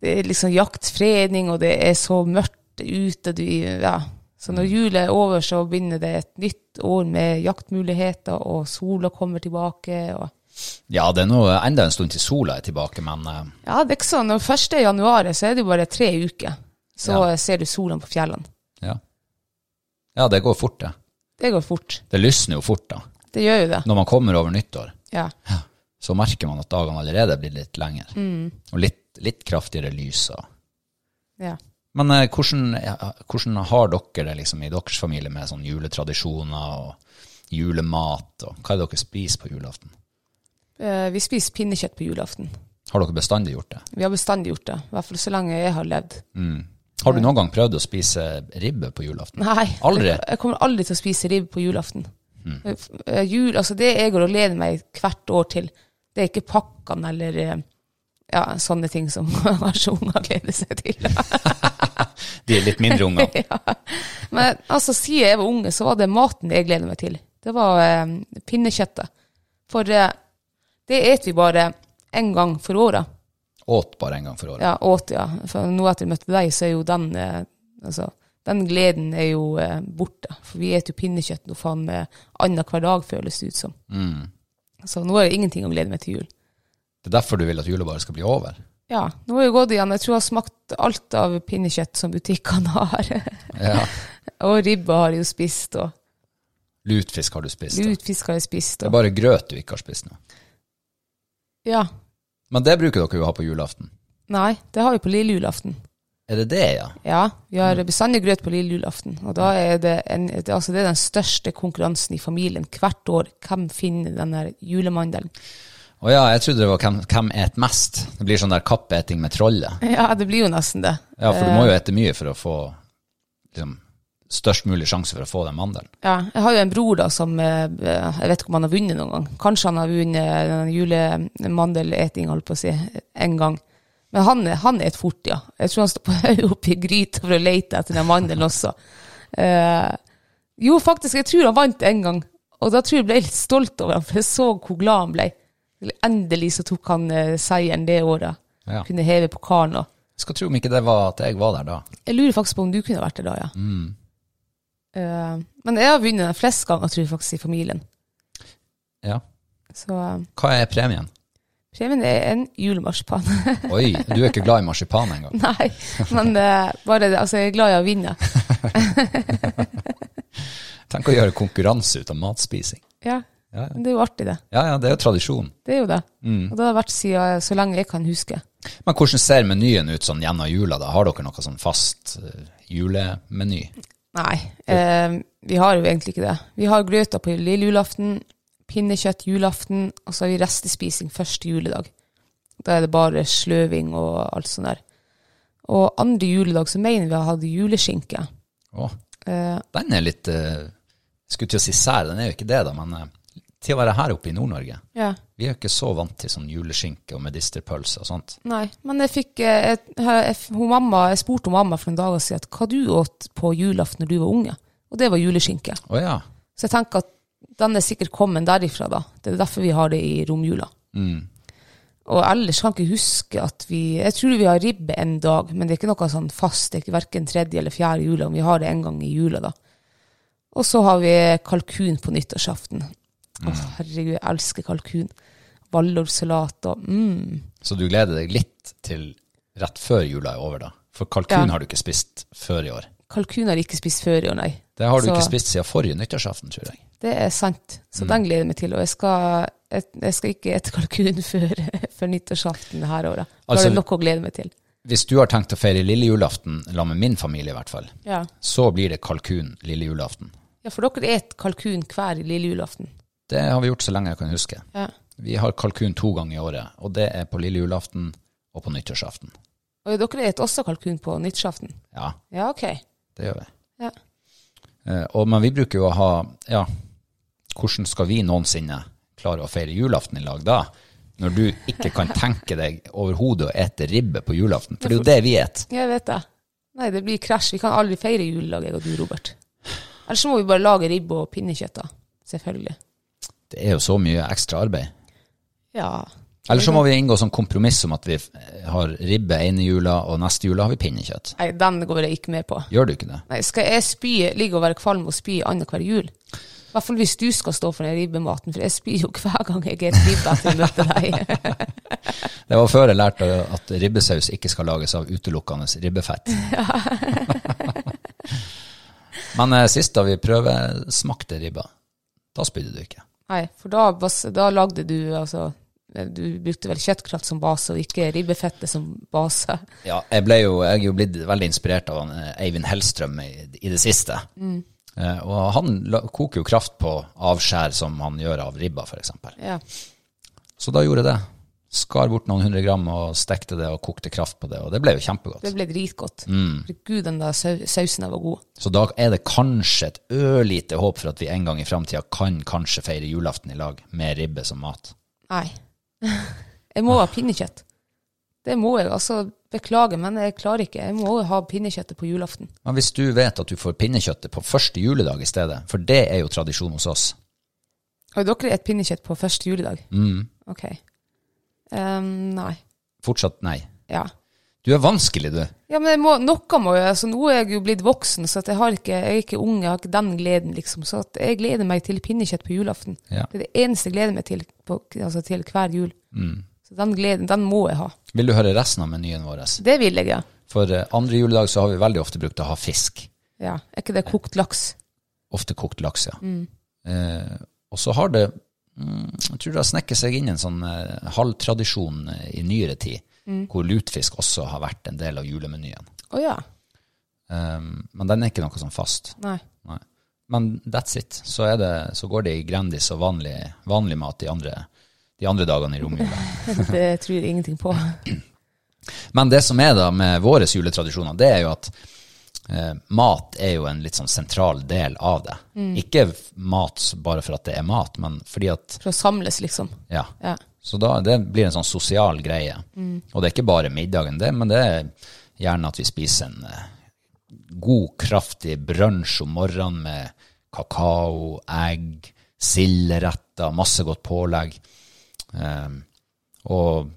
Speaker 2: det er liksom jaktfredning, og det er så mørkt ute. Du, ja. Så når jula er over, så begynner det et nytt år med jaktmuligheter, og sola kommer tilbake. og...
Speaker 1: ja, det er nå enda en stund til sola er tilbake, men eh,
Speaker 2: Ja, det er ikke sånn. Når 1. januar er, så er det jo bare tre uker. Så
Speaker 1: Ja.
Speaker 2: ser du solen på fjellene.
Speaker 1: ja. Ja, det går fort, det.
Speaker 2: Det går fort.
Speaker 1: Det lysner jo fort, da.
Speaker 2: Det gjør jo det.
Speaker 1: Når man kommer over nyttår,
Speaker 2: Ja.
Speaker 1: så merker man at dagene allerede blir litt lengre. Og litt, litt kraftigere lys. Og.
Speaker 2: ja.
Speaker 1: Men eh, hvordan, ja, hvordan har dere det liksom, i deres familie med sånn juletradisjoner og julemat? Og hva er det dere spiser på julaften?
Speaker 2: Eh, Vi spiser pinnekjøtt på julaften.
Speaker 1: Har dere bestandig gjort det?
Speaker 2: Vi har bestandig gjort det. I hvert fall så lenge jeg har levd.
Speaker 1: Har du noen gang prøvd å spise ribbe på julaften?
Speaker 2: Nei.
Speaker 1: Aldri?
Speaker 2: Jeg, jeg kommer aldri til å spise ribbe på julaften. Eh, f- eh, Jul, altså det jeg går og gleder meg hvert år til, det er ikke pakkene eller eh, ja, sånne ting som kanskje unger gleder seg til.
Speaker 1: De er litt mindre unger.
Speaker 2: Men altså, siden jeg var unge, så var det maten jeg gleder meg til. Det var eh, pinnekjøttet. For eh, det et vi bare en gang for året.
Speaker 1: Åt bare en gang for året.
Speaker 2: Ja, åt, ja. For nå etter jeg møtte deg, så er jo den eh, altså, den gleden er jo eh, borte. For vi spiser jo pinnekjøtt nå faen meg annenhver dag, føles det ut som.
Speaker 1: Mm.
Speaker 2: Så nå er det ingenting å glede meg til jul.
Speaker 1: Det er derfor du vil at jula bare skal bli over.
Speaker 2: Ja, nå har jeg gått igjen. Jeg tror jeg har smakt alt av pinnekjøtt som butikkene har.
Speaker 1: Ja.
Speaker 2: og ribba har jeg jo spist, og
Speaker 1: Lutfisk har du spist. da.
Speaker 2: lutfisk har jeg spist.
Speaker 1: Det er
Speaker 2: Og,
Speaker 1: bare grøt du ikke har spist nå.
Speaker 2: ja,
Speaker 1: Men det bruker dere jo å ha på julaften.
Speaker 2: Nei, det har vi på lille julaften.
Speaker 1: Er det det, ja?
Speaker 2: Ja, vi har bestandig grøt på lille julaften. Og da er det, en, det- altså det er den største konkurransen i familien hvert år. Hvem finner den her julemandelen?
Speaker 1: Å ja, jeg trodde det var hvem, hvem et mest. Det blir sånn der kappeting med trollet.
Speaker 2: Ja, det blir jo nesten det.
Speaker 1: Ja, for du må jo ete mye for å få liksom, størst mulig sjanse for å få den mandelen.
Speaker 2: Ja, jeg har jo en bror da som eh, Jeg vet ikke om han har vunnet noen gang. Kanskje han har vunnet eh, den julemandeleting, holdt på å si, en gang. Men han, er- han er et fort, ja. Jeg tror han står på hodet oppi gryta for å lete etter den mandelen også. Eh, jo, faktisk, jeg tror han vant en gang. Og da tror jeg jeg ble litt stolt over ham, for jeg så hvor glad han ble. Endelig så tok han eh, seieren det året.
Speaker 1: Ja.
Speaker 2: Kunne heve pokalen og
Speaker 1: Jeg skal tro om ikke det var at jeg var der da.
Speaker 2: jeg lurer faktisk på om du kunne vært det da, ja.
Speaker 1: Mm.
Speaker 2: Eh, men jeg har vunnet den flest ganger, tror jeg faktisk, i familien.
Speaker 1: Ja.
Speaker 2: Så eh,
Speaker 1: Hva er premien?
Speaker 2: premien er en julemarsipan.
Speaker 1: Oi, du er ikke glad i marsipan engang.
Speaker 2: Nei, men eh, bare det, altså, jeg er glad i å vinne.
Speaker 1: Tenk å gjøre konkurranse ut av matspising.
Speaker 2: Ja,
Speaker 1: Ja, Mm. ja.
Speaker 2: men det er jo artig, det.
Speaker 1: Ja, ja, det er jo tradisjon.
Speaker 2: Det er jo det. Og det har vært siden, jeg- så lenge jeg kan huske.
Speaker 1: Men hvordan ser menyen ut sånn gjennom jula? da? Har dere noe sånn fast eh, julemeny?
Speaker 2: Nei, eh, vi har jo egentlig ikke det. Vi har grøta på lille julaften, pinnekjøtt julaften, og så har vi restespising første juledag. Da er det bare sløving og alt sånt der. Og andre juledag så mener vi har hatt juleskinke.
Speaker 1: Å,
Speaker 2: Eh,
Speaker 1: den er litt eh, Jeg skulle til å si sær, den er jo ikke det, da, men eh, til å være her oppe i Nord-Norge
Speaker 2: ja,
Speaker 1: Vi er jo ikke så vant til sånn juleskinke og medisterpølse og sånt.
Speaker 2: nei. Men jeg fikk eh, jeg, jeg, hun mamma, jeg spurte hun mamma for noen dager siden at hva du åt på julaften når du var unge. Og det var juleskinke.
Speaker 1: Å ja.
Speaker 2: Så jeg tenker at den er sikkert kommet derifra, da. Det er derfor vi har det i romjula. Og ellers kan jeg ikke huske at vi Jeg tror vi har ribbe en dag, men det er ikke noe sånn fast. Det er ikke verken tredje eller fjerde jula, om vi har det en gang i jula, da. Og så har vi kalkun på nyttårsaften. Å, herregud, jeg elsker kalkun. Valdorsalat og mm.
Speaker 1: Så du gleder deg litt til rett før jula er over, da? For kalkun
Speaker 2: Ja.
Speaker 1: har du ikke spist før i år.
Speaker 2: Kalkun har jeg ikke spist før i år, nei.
Speaker 1: Det har du
Speaker 2: Så-
Speaker 1: ikke spist siden forrige nyttårsaften, tror jeg. Mm.
Speaker 2: Det er sant. Så den gleder jeg meg til. Og jeg skal et, jeg skal ikke ete kalkun før, før nyttårsaften det her året. Da
Speaker 1: Altså-
Speaker 2: er det nok å glede meg til.
Speaker 1: Hvis du har tenkt å feire lille julaften, la med min familie i hvert fall,
Speaker 2: Ja.
Speaker 1: så blir det kalkun lille julaften.
Speaker 2: ja, for dere et kalkun hver lille julaften.
Speaker 1: Det har vi gjort så lenge jeg kan huske.
Speaker 2: Ja.
Speaker 1: Vi har kalkun to ganger i året, og det er på lille julaften og på nyttårsaften.
Speaker 2: Og dere et også kalkun på nyttårsaften?
Speaker 1: Ja,
Speaker 2: Ja, ok.
Speaker 1: det gjør vi.
Speaker 2: Ja.
Speaker 1: Eh, og, men vi bruker jo å ha Ja, hvordan skal vi noensinne klare å feire julaften i lag da? Når du ikke kan tenke deg overhodet å ete ribbe på julaften. For det er jo det vi et.
Speaker 2: Jeg vet det. Nei, det blir krasj. Vi kan aldri feire jul, lag jeg og du, Robert. Ellers så må vi bare lage ribbe og pinnekjøtt, da. Selvfølgelig.
Speaker 1: Det er jo så mye ekstra arbeid.
Speaker 2: Ja.
Speaker 1: Eller så må vi inngå sånn kompromiss om at vi f- eh, har ribbe ene jula, og neste jula har vi pinnekjøtt.
Speaker 2: Nei, den går jeg ikke med på.
Speaker 1: Gjør du ikke det?
Speaker 2: Nei, skal jeg spy, ligge og være kvalm og spy annenhver jul? I hvert fall hvis du skal stå for den ribbematen, for jeg spyr jo hver gang jeg spiser ribbe etter å møte deg.
Speaker 1: Det var før jeg lærte at ribbesaus ikke skal lages av utelukkende ribbefett. Men eh, sist da vi prøvesmakte ribba, da spydde du ikke.
Speaker 2: Nei, for da, bas- da lagde du altså Du brukte vel kjøttkraft som base, og ikke ribbefettet som base.
Speaker 1: Ja, jeg, ble jo, jeg er jo blitt veldig inspirert av han, eh, Eivind Hellstrøm i, i det siste. Eh, og han la, koker jo kraft på avskjær som han gjør av ribba, f.eks.
Speaker 2: Ja.
Speaker 1: Så da gjorde jeg det. Skar bort noen hundre gram og stekte det og kokte kraft på det, og det ble jo kjempegodt.
Speaker 2: Det ble dritgodt. For Gud, den der sau sausen der var god.
Speaker 1: Så da er det kanskje et ørlite håp for at vi en gang i framtida kan kanskje feire julaften i lag med ribbe som mat.
Speaker 2: Nei. Jeg må ha pinnekjøtt. Det må jeg. Altså, beklager, men jeg klarer ikke. Jeg må ha pinnekjøttet på julaften.
Speaker 1: Men hvis du vet at du får pinnekjøttet på første juledag i stedet, for det er jo tradisjon hos oss
Speaker 2: Har dere et pinnekjøtt på første juledag? Ok. Ehm, nei.
Speaker 1: Fortsatt nei.
Speaker 2: Ja.
Speaker 1: Du er vanskelig, du.
Speaker 2: Ja, men jeg må, noe må jeg, altså nå er jeg jo blitt voksen, så at jeg, har ikke, jeg er ikke ung, jeg har ikke den gleden, liksom. Så at jeg gleder meg til pinnekjøtt på julaften.
Speaker 1: Ja.
Speaker 2: Det er det eneste jeg gleder meg til, på, altså til hver jul. Så den gleden, den må jeg ha.
Speaker 1: Vil du høre resten av menyen vår?
Speaker 2: Det vil jeg, ja.
Speaker 1: For eh, andre juledag så har vi veldig ofte brukt å ha fisk.
Speaker 2: ja. Er ikke det kokt laks?
Speaker 1: Ofte kokt laks, ja. Eh, og så har det mm, Jeg tror det har snekket seg inn en sånn eh, halvtradisjon eh, i nyere tid, hvor lutfisk også har vært en del av julemenyen.
Speaker 2: Å ja.
Speaker 1: Um, men den er ikke noe sånn fast.
Speaker 2: Nei.
Speaker 1: Nei. Men that's it. Så, er det, så går det i Grandis og vanlig, vanlig mat de andre, de andre dagene i romjula.
Speaker 2: Det tror jeg ingenting på.
Speaker 1: Men det som er da med våre juletradisjoner, det er jo at eh, mat er jo en litt sånn sentral del av det. Ikke f- mat bare for at det er mat, men fordi at
Speaker 2: For å samles, liksom.
Speaker 1: Ja.
Speaker 2: Ja.
Speaker 1: Så da, det blir en sånn sosial greie. Og det er ikke bare middagen, det, men det er gjerne at vi spiser en eh, god, kraftig brunsj om morgenen med kakao, egg, silderetter, masse godt pålegg. Eh, og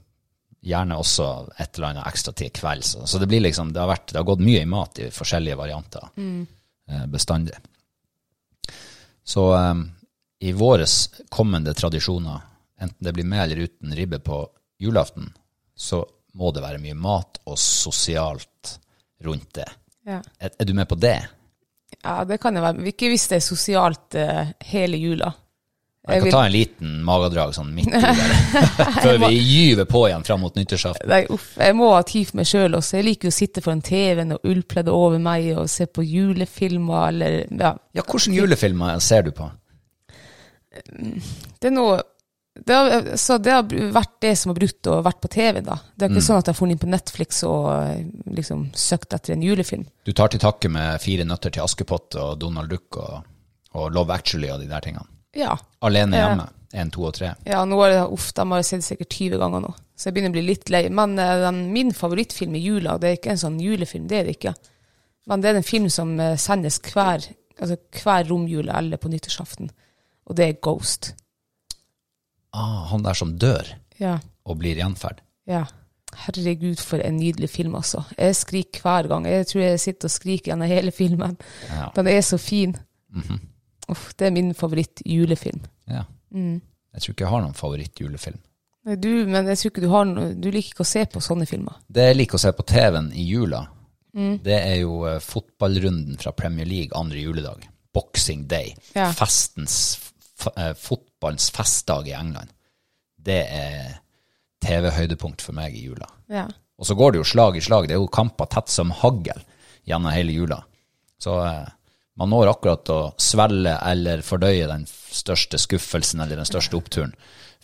Speaker 1: gjerne også et eller annet ekstra til kvelds. Så det, blir liksom, det, har vært, det har gått mye i mat i forskjellige varianter eh, bestandig. Så eh, i våres kommende tradisjoner, enten det blir med eller uten ribbe på julaften, så må det være mye mat og sosialt rundt det.
Speaker 2: Ja.
Speaker 1: Er, er du med på det?
Speaker 2: ja, det kan det være. Men Ikke hvis det er sosialt eh, hele jula.
Speaker 1: Jeg kan
Speaker 2: vil-
Speaker 1: ta en liten magedrag sånn midt i det, før vi gyver på igjen fram mot nyttårsaften.
Speaker 2: Nei, uff, jeg må ha tid for meg sjøl også. Jeg liker jo å sitte foran TV-en og ullpleddet over meg og se på julefilmer eller Ja.
Speaker 1: Ja, hvilke julefilmer ser du på?
Speaker 2: Det er noe det har, så det har vært det som har brutt og vært på TV, da. Det er ikke sånn at jeg har funnet inn på Netflix og eh, liksom søkt etter en julefilm.
Speaker 1: Du tar til takke med Fire nøtter til Askepott og Donald Duck og, og Love Actually og de der tingene.
Speaker 2: Ja.
Speaker 1: Alene
Speaker 2: Ja.
Speaker 1: hjemme, én, to og tre.
Speaker 2: Ja, nå har jeg, uff, de har jeg sett sikkert 20 ganger nå, så jeg begynner å bli litt lei. Men eh, den, min favorittfilm i jula, det er ikke en sånn julefilm, det er det ikke. Men det er en film som eh, sendes hver, altså hver romjule eller på nyttårsaften, og det er Ghost.
Speaker 1: Ah, han der som dør
Speaker 2: Ja,
Speaker 1: og blir gjenferd.
Speaker 2: ja. Herregud, for en nydelig film, altså. Jeg skriker hver gang. Jeg tror jeg sitter og skriker gjennom hele filmen.
Speaker 1: Ja.
Speaker 2: Den er så fin. Uff, det er min favoritt-julefilm.
Speaker 1: Ja. Jeg tror ikke jeg har noen favorittjulefilm.
Speaker 2: Du, men jeg tror ikke du har noe Du liker ikke å se på sånne filmer.
Speaker 1: Det jeg liker å se på TV-en i jula, det er jo eh, fotballrunden fra Premier League andre juledag. Boxing Day.
Speaker 2: Ja.
Speaker 1: Festens, f eh, fotballens festdag i England. det er TV-høydepunkt for meg i jula.
Speaker 2: Ja.
Speaker 1: Og så går det jo slag i slag. Det er jo kamper tett som hagl gjennom hele jula. Så eh, man når akkurat å svelge eller fordøye den største skuffelsen eller den største oppturen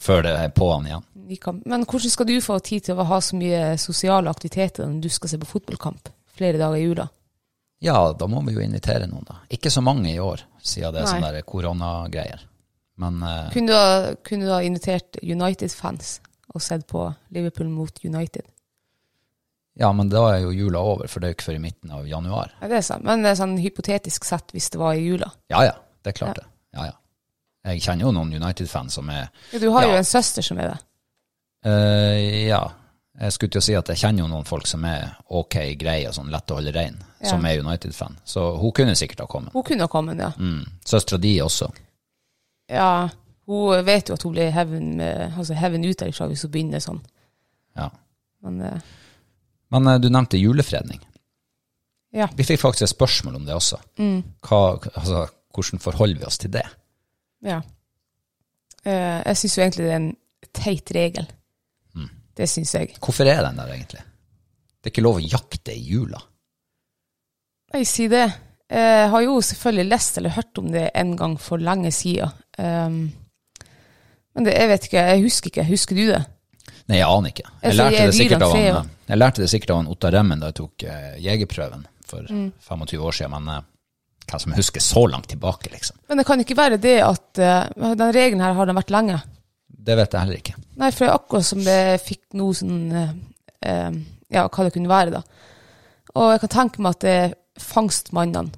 Speaker 1: før det er på'n igjen.
Speaker 2: Vi kan- Men hvordan skal du få tid til å ha så mye sosiale aktiviteter når du skal se på fotballkamp flere dager i jula?
Speaker 1: Ja, da må vi jo invitere noen, da. Ikke så mange i år, siden det er sånne der koronagreier. Men eh,
Speaker 2: Kunne du ha, kunne du ha invitert United-fans og sett på Liverpool mot United?
Speaker 1: ja, men da er jo jula over, for det er jo ikke før i midten av januar.
Speaker 2: Ja, det er sant. Men det er sånn hypotetisk sett hvis det var i jula.
Speaker 1: Ja ja, det er klart det. Ja ja. Jeg kjenner jo noen United-fans som er
Speaker 2: Ja, du har
Speaker 1: Ja.
Speaker 2: jo en søster som er det.
Speaker 1: Eh, ja. Jeg skulle til å si at jeg kjenner jo noen folk som er ok, greie og sånn lett å holde rein,
Speaker 2: Ja.
Speaker 1: som er United-fan. Så hun kunne sikkert ha kommet.
Speaker 2: Hun kunne ha kommet, ja.
Speaker 1: Mm. Søstera di også.
Speaker 2: Ja, hun vet jo at hun blir heaven, med, altså heaven ut derifra hvis hun begynner sånn.
Speaker 1: Ja.
Speaker 2: Men eh,
Speaker 1: Men eh, du nevnte julefredning.
Speaker 2: ja.
Speaker 1: Vi fikk faktisk et spørsmål om det også.
Speaker 2: Mm.
Speaker 1: Hva, altså, hvordan forholder vi oss til det?
Speaker 2: ja. Eh, jeg syns jo egentlig det er en teit regel. Det syns jeg.
Speaker 1: Hvorfor er den der egentlig? Det er ikke lov å jakte i jula.
Speaker 2: Nei, si det. Jeg har jo selvfølgelig lest eller hørt om det en gang for lenge siden. Ehm, men det, jeg vet ikke, jeg husker ikke. Husker du det?
Speaker 1: Nei, jeg aner ikke. Jeg
Speaker 2: Altså,
Speaker 1: lærte
Speaker 2: jeg
Speaker 1: det
Speaker 2: blir
Speaker 1: sikkert av,
Speaker 2: en
Speaker 1: han, eh, jeg lærte det sikkert av han Ottar Remmen da jeg tok eh, jegerprøven for 25 år siden, men eh, hva som jeg husker så langt tilbake, liksom.
Speaker 2: Men det kan ikke være det at eh, den regelen her har den vært lenge.
Speaker 1: Det vet jeg heller ikke.
Speaker 2: Nei, for det er akkurat som det fikk noe sånn eh, eh, Ja, hva det kunne være, da. Og jeg kan tenke meg at det er fangstmannene,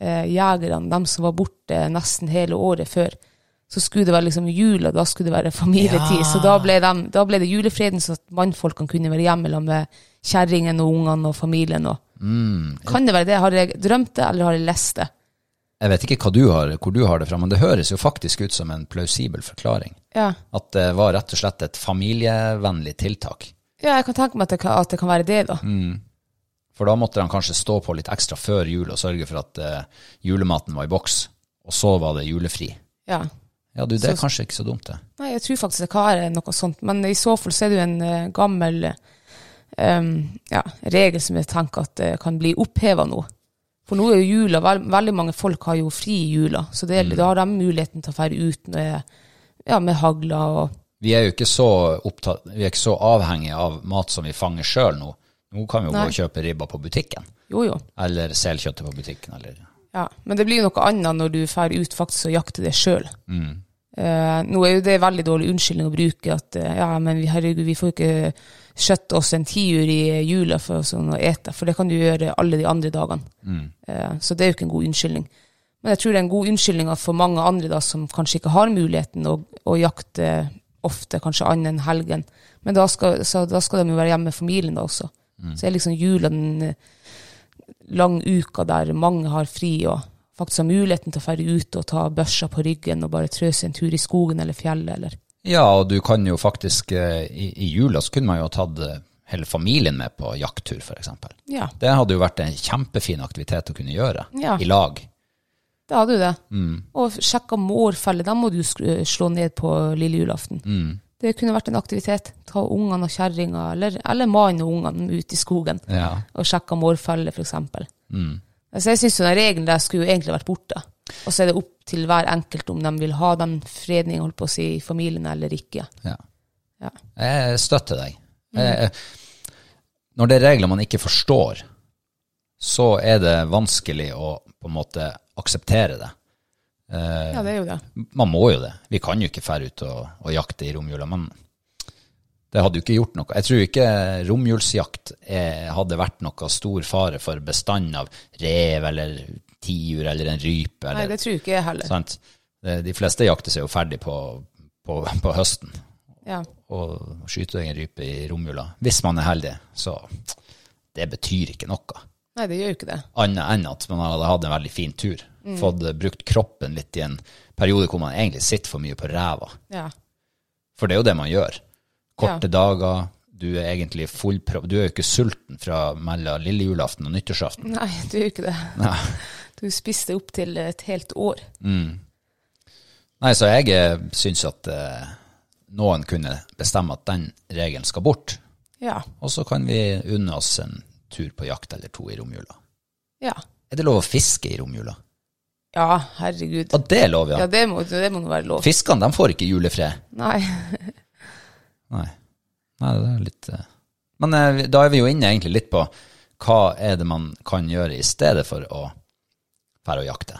Speaker 2: eh, jegerne, dem som var borte nesten hele året før, så skulle det være liksom jul, og da skulle det være familietid. Så da ble, dem, da ble det julefreden, så at mannfolkene kunne være hjemme sammen med kjerringen og ungene og familien. Og. Kan det være det? Har jeg drømt det, eller har jeg lest det?
Speaker 1: Jeg vet ikke hva du har, hvor du har det fra, men det høres jo faktisk ut som en plausibel forklaring.
Speaker 2: Ja.
Speaker 1: At det var rett og slett et familievennlig tiltak.
Speaker 2: ja, jeg kan tenke meg at det kan, at det kan være det, da.
Speaker 1: For da måtte de kanskje stå på litt ekstra før jul og sørge for at eh, julematen var i boks, og så var det julefri.
Speaker 2: Ja.
Speaker 1: Ja, du, det er kanskje ikke så dumt, det.
Speaker 2: Nei, jeg tror faktisk det kan være noe sånt, men i så fall så er det jo en eh, gammel eh, um, ja, regel som jeg tenker at eh, kan bli oppheva nå. For nå er jo jula, vel, veldig mange folk har jo fri i jula, så det, da har de muligheten til å fære ut med, ja, med hagla og
Speaker 1: Vi er jo ikke så, opptatt, vi er ikke så avhengige av mat som vi fanger sjøl nå. Nå kan vi jo gå
Speaker 2: Nei.
Speaker 1: og kjøpe ribba på butikken,
Speaker 2: Jo, jo.
Speaker 1: eller selkjøttet på butikken, eller
Speaker 2: Ja, men det blir jo noe annet når du drar ut faktisk og jakter det sjøl. nå er jo det veldig dårlig unnskyldning å bruke at eh, ja, men vi, herregud, vi får ikke kjøtt oss en tiur i jula for sånn å ete, for det kan du gjøre alle de andre dagene. Eh, så det er jo ikke en god unnskyldning. Men jeg tror det er en god unnskyldning at for mange andre da, som kanskje ikke har muligheten å, å jakte ofte, kanskje annet enn helgen. Men da skal, så, da skal de jo være hjemme med familien da også. Så er liksom jula den eh, lang uka der mange har fri og faktisk har muligheten til å fære ut og ta børsa på ryggen og bare trø seg en tur i skogen eller fjellet eller
Speaker 1: Ja, og du kan jo faktisk eh, I, i jula så kunne man jo ha tatt eh, hele familien med på jakttur, f.eks.
Speaker 2: Ja,
Speaker 1: Det hadde jo vært en kjempefin aktivitet å kunne gjøre
Speaker 2: Ja.
Speaker 1: i lag.
Speaker 2: det hadde jo det. Og sjekka mårfelle, da må du skru- slå ned på lille julaften. Det kunne vært en aktivitet. Ta ungene og kjerringa, eller, eller mannen og ungene ut i skogen
Speaker 1: Ja.
Speaker 2: og sjekka mårfelle, f.eks. Altså, jeg syns den regelen der skulle jo egentlig vært borte. Og så er det opp til hver enkelt om de vil ha den fredningen holdt på å si, i familien eller ikke.
Speaker 1: ja.
Speaker 2: Ja.
Speaker 1: Jeg støtter deg. Jeg, når det er regler man ikke forstår, så er det vanskelig å på en måte akseptere det. Eh,
Speaker 2: ja, det er jo det.
Speaker 1: Man må jo det. Vi kan jo ikke fære ut og, og jakte i romjula, men det hadde jo ikke gjort noe. Jeg tror ikke romjulsjakt eh, hadde vært noe stor fare for bestanden av rev eller tiur eller en rype.
Speaker 2: Nei,
Speaker 1: Eller,
Speaker 2: det tror ikke jeg heller.
Speaker 1: sant? Eh, De fleste jakter seg jo ferdig på, på, på høsten.
Speaker 2: Ja.
Speaker 1: Og skyte en rype i romjula, hvis man er heldig, så det betyr ikke noe.
Speaker 2: Nei, det gjør jo ikke det.
Speaker 1: Annet enn at man hadde hatt en veldig fin tur.
Speaker 2: Mm.
Speaker 1: Fått eh, brukt kroppen litt i en periode hvor man egentlig sitter for mye på ræva.
Speaker 2: Ja.
Speaker 1: For det er jo det man gjør. Korte dager, du er egentlig fullpropp. Du er jo ikke sulten fra mellom lille julaften og nyttårsaften.
Speaker 2: Nei, du gjør jo ikke det.
Speaker 1: Nei.
Speaker 2: Du spiste opp til et helt år.
Speaker 1: Nei, så jeg eh, syns at eh, noen kunne bestemme at den regelen skal bort,
Speaker 2: Ja.
Speaker 1: og så kan vi unne oss en tur på jakt eller to i romjula.
Speaker 2: Ja.
Speaker 1: Er det lov å fiske i romjula?
Speaker 2: Ja, herregud.
Speaker 1: Ja, det er lov,
Speaker 2: Ja,
Speaker 1: ja.
Speaker 2: det må, det må nå være lov.
Speaker 1: Fiskene, de får ikke julefred.
Speaker 2: Nei.
Speaker 1: Nei. Nei, det er litt eh. Men eh, da er vi jo inne egentlig litt på hva er det man kan gjøre i stedet for å fære og jakte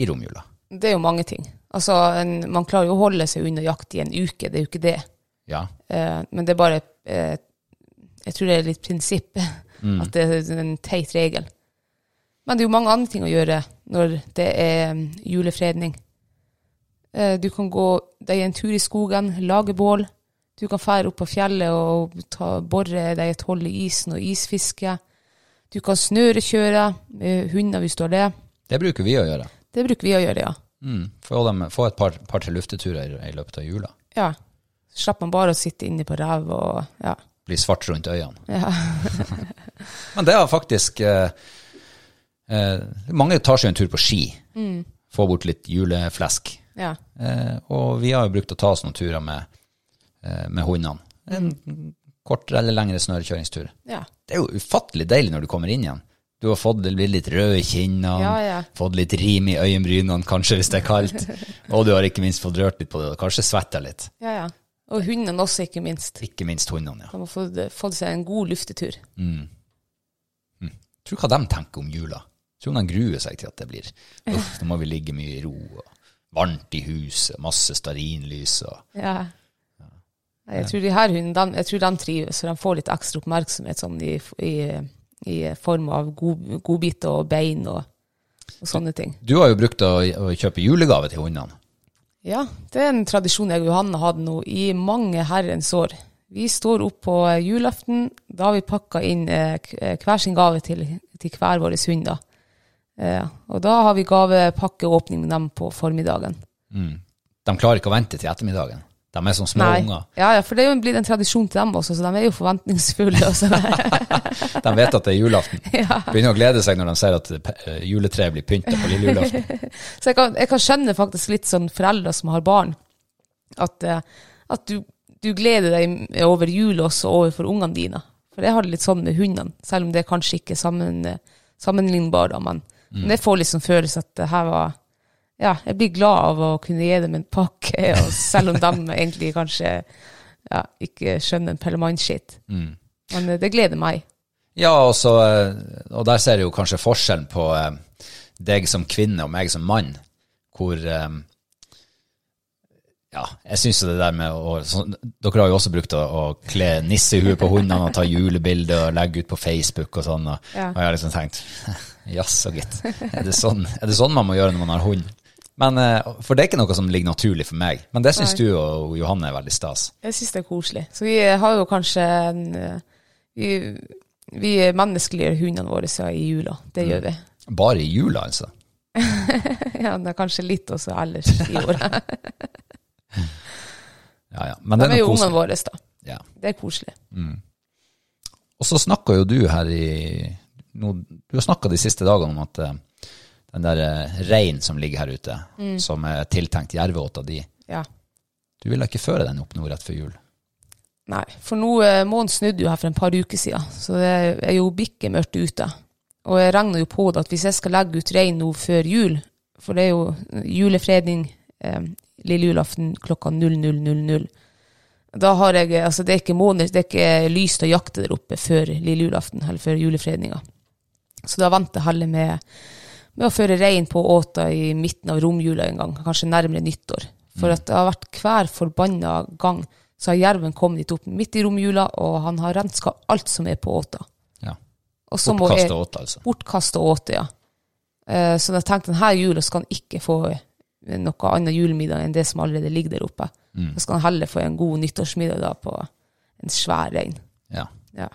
Speaker 1: i romjula.
Speaker 2: Det er jo mange ting. Altså, en, man klarer jo å holde seg unna jakt i en uke, det er jo ikke det.
Speaker 1: Ja.
Speaker 2: Eh, men det er bare eh, Jeg tror det er litt prinsipp at det er en teit regel. Men det er jo mange andre ting å gjøre når det er mm, julefredning. Eh, du kan gå deg en tur i skogen, lage bål. Du kan fære opp på fjellet og ta, bore deg et hull i isen og isfiske. Du kan snørekjøre med hunder hvis du har det.
Speaker 1: Det bruker vi å gjøre.
Speaker 2: Det bruker vi å gjøre, ja.
Speaker 1: Mm. Få, dem, få et par-tre lufteturer i, i løpet av jula.
Speaker 2: Ja. Så slapp man bare å sitte inne på ræv og ja.
Speaker 1: Bli svart rundt øynene.
Speaker 2: ja.
Speaker 1: Men det har faktisk eh, eh, Mange tar seg en tur på ski. Få bort litt juleflesk.
Speaker 2: ja.
Speaker 1: Eh, og vi har jo brukt å ta oss noen turer med, eh, med hundene. En
Speaker 2: Mm.
Speaker 1: kortere eller lengre snørekjøringstur.
Speaker 2: ja.
Speaker 1: Det er jo ufattelig deilig når du kommer inn igjen. Du har fått det blir litt rød i kinnene,
Speaker 2: Ja, ja.
Speaker 1: fått litt rim i øyenbrynene kanskje hvis det er kaldt, og du har ikke minst fått rørt litt på det, og kanskje svetta litt.
Speaker 2: Ja, ja. Og hundene også, ikke minst.
Speaker 1: Ikke minst hundene, ja.
Speaker 2: De har fått, fått seg en god luftetur.
Speaker 1: Tror du hva de tenker om jula? Tror du de gruer seg til at det blir Uff, nå må vi ligge mye i ro, og varmt i huset, masse stearinlys og
Speaker 2: Ja. Jeg tror de her hundene de, jeg tror de trives, for de får litt ekstra oppmerksomhet sånn i, i, i form av god, godbiter og bein og, og sånne ting.
Speaker 1: Du har jo brukt å, å kjøpe julegave til hundene.
Speaker 2: Ja, det er en tradisjon jeg og Johanne hadde nå i mange herrens år. Vi står opp på julaften, da har vi pakka inn eh, k- eh, hver sin gave til, til hver vår hund. da. Eh, og da har vi gavepakkeåpning med dem på formiddagen.
Speaker 1: De klarer ikke å vente til ettermiddagen. De er som små
Speaker 2: Nei.
Speaker 1: unger.
Speaker 2: Ja, ja, for det er jo blitt en tradisjon til dem også, så de er jo forventningsfulle. Altså.
Speaker 1: De vet at det er julaften. Begynner å glede seg når de ser at eh, juletreet blir pynta på lille julaften.
Speaker 2: så jeg kan, jeg kan skjønne faktisk litt sånn foreldre som har barn, at, eh, at du, du gleder deg over jul også overfor ungene dine. For jeg har det litt sånn med hundene, selv om det kanskje ikke er sammen, sammenlignbar, da, men, men jeg får liksom følelse at det her var Ja, jeg blir glad av å kunne gi dem en pakke, og selv om de egentlig kanskje ja, ikke skjønner en pellemannskitt. Men eh, det gleder meg.
Speaker 1: Ja, og, så, eh, og der ser du jo kanskje forskjellen på eh, deg som kvinne og meg som mann, hvor eh, ja, jeg syns det der med å sånn- Dere har jo også brukt å, å kle nissehue på hundene og ta julebilder og legge ut på Facebook og sånn. Og,
Speaker 2: Ja.
Speaker 1: og jeg har liksom tenkt Jaså, gitt. Er det, sånn, er det sånn man må gjøre når man har hund? Men, eh, for det er ikke noe som ligger naturlig for meg. Men det syns du og Johanne er veldig stas.
Speaker 2: Jeg syns det er koselig. Så vi har jo kanskje en eh, Vi, vi menneskeliggjør hundene våre så i jula. Det gjør vi.
Speaker 1: Bare i jula, altså.
Speaker 2: Ja, men det er kanskje litt også ellers i året.
Speaker 1: Ja, ja. Men
Speaker 2: De
Speaker 1: det
Speaker 2: er
Speaker 1: er
Speaker 2: jo
Speaker 1: noe
Speaker 2: ungene
Speaker 1: koselig.
Speaker 2: våre, da.
Speaker 1: Ja.
Speaker 2: Det er koselig.
Speaker 1: Og så snakka jo du her i nå, Du har snakka de siste dagene om at eh, den der eh, reinen som ligger her ute,
Speaker 2: Mm.
Speaker 1: som er tiltenkt jerveåta di
Speaker 2: Ja.
Speaker 1: Du ville ikke føre den opp nå rett før jul?
Speaker 2: Nei, for nå eh, månen snudde jo her for en par uker siden, så det er jo bikke mørkt ute. Og jeg regner jo på det at hvis jeg skal legge ut rein nå før jul, for det er jo julefredning eh, lille julaften klokka 00.00, da har jeg eh, Altså, det er ikke måneder, det er ikke lyst å jakte der oppe før lille julaften, eller før julefredninga. Så da venter jeg heller med, med å føre rein på åta i midten av romjula en gang, kanskje nærmere nyttår. For at det har vært hver forbanna gang så har jerven kommet dit opp midt i romjula, og han har renska alt som er på åta.
Speaker 1: Ja.
Speaker 2: Og så må jeg
Speaker 1: Bortkasta åte, altså.
Speaker 2: bortkasta åte, ja. Eh, Så jeg tenkte denne jula skal han ikke få noe annet julemiddag enn det som allerede ligger der oppe. Da skal han heller få en god nyttårsmiddag da på en svær rein.
Speaker 1: Ja.
Speaker 2: Ja.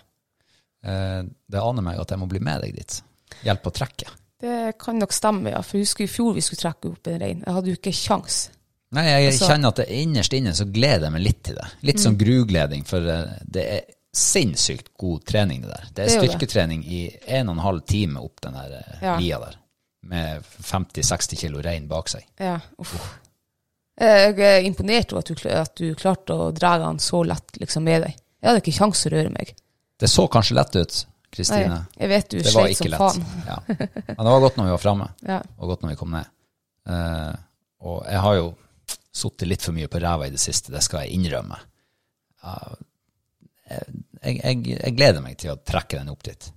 Speaker 1: Eh, Det aner meg at jeg må bli med deg dit. Hjelp å trekke.
Speaker 2: Det kan nok stemme, ja. For jeg husker i fjor vi skulle trekke opp en rein. Jeg hadde jo ikke kjangs.
Speaker 1: Nei, jeg
Speaker 2: Altså- Mm.
Speaker 1: kjenner at det innerst inne så gleder jeg meg litt til det. Litt sånn grugleding, for eh, det er sinnssykt god trening det der. Det er
Speaker 2: Det er jo det.
Speaker 1: styrketrening i en og en halv time opp den der eh,
Speaker 2: Ja.
Speaker 1: lia der, med 50-60 kilo rein bak seg.
Speaker 2: Ja, uff. Jeg er imponert over at du, kl- at du klarte å dra han så lett liksom, med deg. Jeg hadde ikke kjangs å røre meg.
Speaker 1: Det så kanskje lett ut,
Speaker 2: Nei,
Speaker 1: Kristine.
Speaker 2: jeg vet du
Speaker 1: Det var
Speaker 2: sleit som
Speaker 1: ikke lett.
Speaker 2: faen.
Speaker 1: Ja. Men det var godt når vi var framme,
Speaker 2: Ja.
Speaker 1: og godt når vi kom ned. Eh, og jeg har jo sittet litt for mye på ræva i det siste, det skal jeg innrømme. Ja, jeg, jeg, jeg gleder meg til å trekke den opp dit.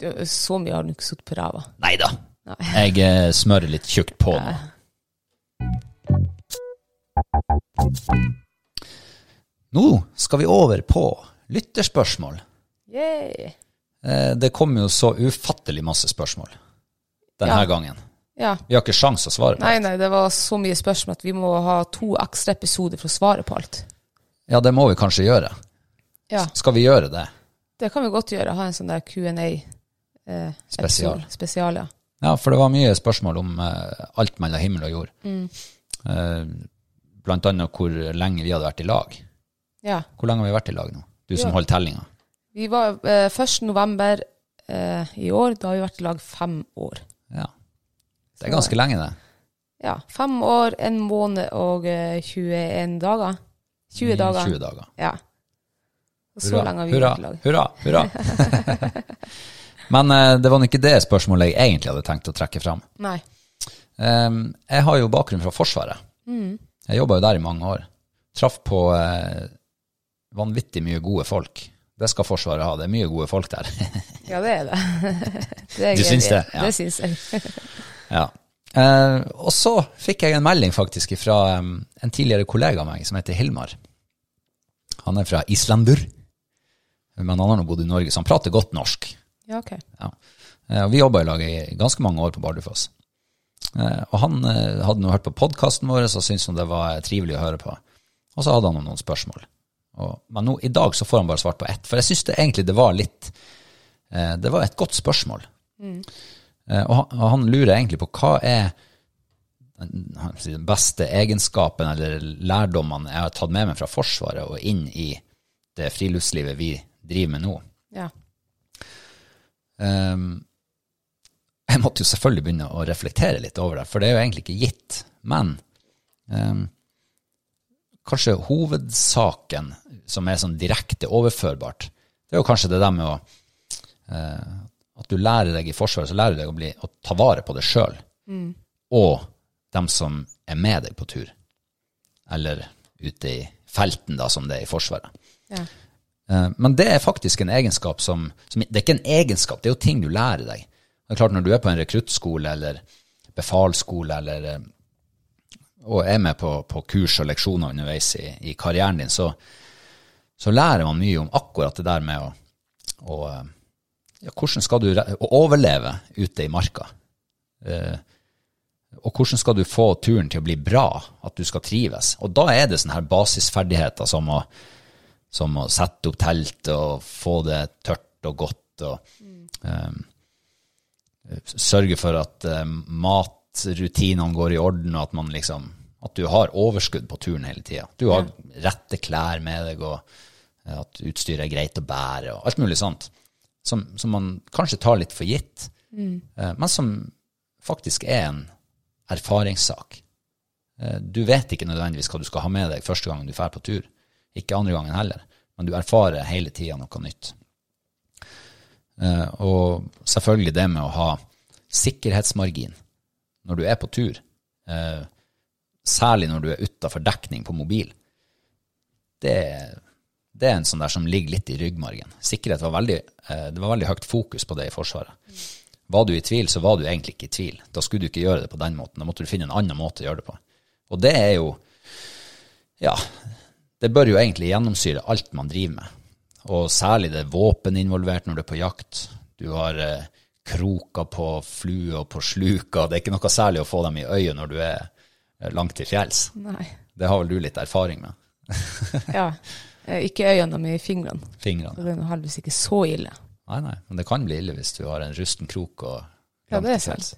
Speaker 2: Du- Så mye har du ikke sittet på ræva.
Speaker 1: Nei da!
Speaker 2: Nei.
Speaker 1: Jeg eh, smører litt tjukt på nå. Nå skal vi over på lytterspørsmål.
Speaker 2: Yay.
Speaker 1: Eh, det kom jo så ufattelig masse spørsmål denne
Speaker 2: Ja.
Speaker 1: gangen.
Speaker 2: Ja.
Speaker 1: Vi har ikke sjans å svare på
Speaker 2: Nei,
Speaker 1: alt.
Speaker 2: nei, det var så mye spørsmål at vi må ha to ekstra episoder for å svare på alt.
Speaker 1: Ja, det må vi kanskje gjøre.
Speaker 2: Ja,
Speaker 1: Skal vi gjøre det?
Speaker 2: det kan vi godt gjøre. Ha en sånn der Q&A. Eh,
Speaker 1: Spesial.
Speaker 2: episode. Spesial, ja.
Speaker 1: Ja, for det var mye spørsmål om eh, alt mellom himmel og jord.
Speaker 2: Mm.
Speaker 1: Eh, blant annet hvor lenge vi hadde vært i lag.
Speaker 2: ja.
Speaker 1: Hvor lenge har vi vært i lag nå? Du som
Speaker 2: Ja.
Speaker 1: holder tellinga.
Speaker 2: Vi var eh, 1. november eh, i år. Da har vi vært i lag fem år.
Speaker 1: Ja. Det er ganske lenge, det.
Speaker 2: Ja, fem år, en måned og eh, 21 dager. 20 dager.
Speaker 1: 20 Mm, dager.
Speaker 2: Ja. Og så
Speaker 1: Hurra,
Speaker 2: lenge har vi
Speaker 1: hurra,
Speaker 2: vært i lag.
Speaker 1: hurra, hurra. Men eh, det var nå ikke det spørsmålet jeg egentlig hadde tenkt å trekke fram.
Speaker 2: Nei.
Speaker 1: Ehm, jeg har jo bakgrunn fra Forsvaret. Jeg jobba jo der i mange år. Traff på eh, vanvittig mye gode folk. Det skal Forsvaret ha, det er mye gode folk der.
Speaker 2: Ja, det er det. det er
Speaker 1: Du
Speaker 2: jeg
Speaker 1: syns
Speaker 2: enig i.
Speaker 1: det? Ja.
Speaker 2: Det syns jeg.
Speaker 1: ja. Eh, og så fikk jeg en melding faktisk fra ehm, en tidligere kollega av meg som heter Hilmar. Han er fra Islandur, men han har nå bodd i Norge, så han prater godt norsk.
Speaker 2: Ja, ok.
Speaker 1: Ja. Eh, og Vi jobba i lag i ganske mange år på Bardufoss. Eh, Og han eh, hadde nå hørt på podkasten vår og syntes han det var trivelig å høre på. Og så hadde han noen spørsmål. Og, men nå, i dag så får han bare svart på ett. For jeg syns det egentlig det var litt eh, Det var et godt spørsmål. Eh, og, han, og han lurer egentlig på hva er den han sier, den beste egenskapen eller lærdommene jeg har tatt med meg fra Forsvaret og inn i det friluftslivet vi driver med nå.
Speaker 2: Ja.
Speaker 1: Ehm, jeg måtte jo selvfølgelig begynne å reflektere litt over det, for det er jo egentlig ikke gitt. Men ehm, kanskje hovedsaken som er sånn direkte overførbart, det er jo kanskje det der med å eh, At du lærer deg i Forsvaret, så lærer du deg å, bli, å ta vare på deg sjøl. Og dem som er med deg på tur. Eller ute i felten, da, som det er i Forsvaret.
Speaker 2: ja.
Speaker 1: Eh, Men det er faktisk en egenskap som, som Det er ikke en egenskap, det er jo ting du lærer deg. Det er klart Når du er på en rekruttskole eller befalsskole eller, eh, og er med på, på kurs og leksjoner underveis i, i karrieren din, så, så lærer man mye om akkurat det der med å, å eh, ja, Hvordan skal du re- å overleve ute i marka? Eh, og hvordan skal du få turen til å bli bra, at du skal trives? Og da er det sånne her basisferdigheter som å som å sette opp telt og få det tørt og godt, og eh, sørge for at eh, matrutinene går i orden, og at, man liksom, at du har overskudd på turen hele tida. Du har rette klær med deg, og eh, at utstyret er greit å bære, og alt mulig sånt. Som, som man kanskje tar litt for gitt, eh, men som faktisk er en erfaringssak. Eh, Du vet ikke nødvendigvis hva du skal ha med deg første gangen du drar på tur. Ikke andre gangen heller. Men du erfarer hele tida noe nytt. Eh, Og selvfølgelig det med å ha sikkerhetsmargin når du er på tur. eh, Særlig når du er utafor dekning på mobil. Det, det er en sånn der som ligger litt i ryggmargen. Sikkerhet var veldig, eh, det var veldig høyt fokus på det i Forsvaret. Var du i tvil, så var du egentlig ikke i tvil. Da skulle du ikke gjøre det på den måten. Da måtte du finne en annen måte å gjøre det på. Og det er jo Ja, det bør jo egentlig gjennomsyre alt man driver med. Og særlig det er våpen involvert når du er på jakt. Du har eh, kroker på flue og på sluker. Det er ikke noe særlig å få dem i øyet når du er eh, langt til fjells.
Speaker 2: Nei.
Speaker 1: Det har vel du litt erfaring med?
Speaker 2: Ja. Eh, Ikke øynene, men fingrene.
Speaker 1: Fingrene.
Speaker 2: Så det er nå heldigvis ikke så ille.
Speaker 1: Nei, nei, men det kan bli ille hvis du har en rusten krok og
Speaker 2: Ja, det er
Speaker 1: til
Speaker 2: sant.
Speaker 1: fjells.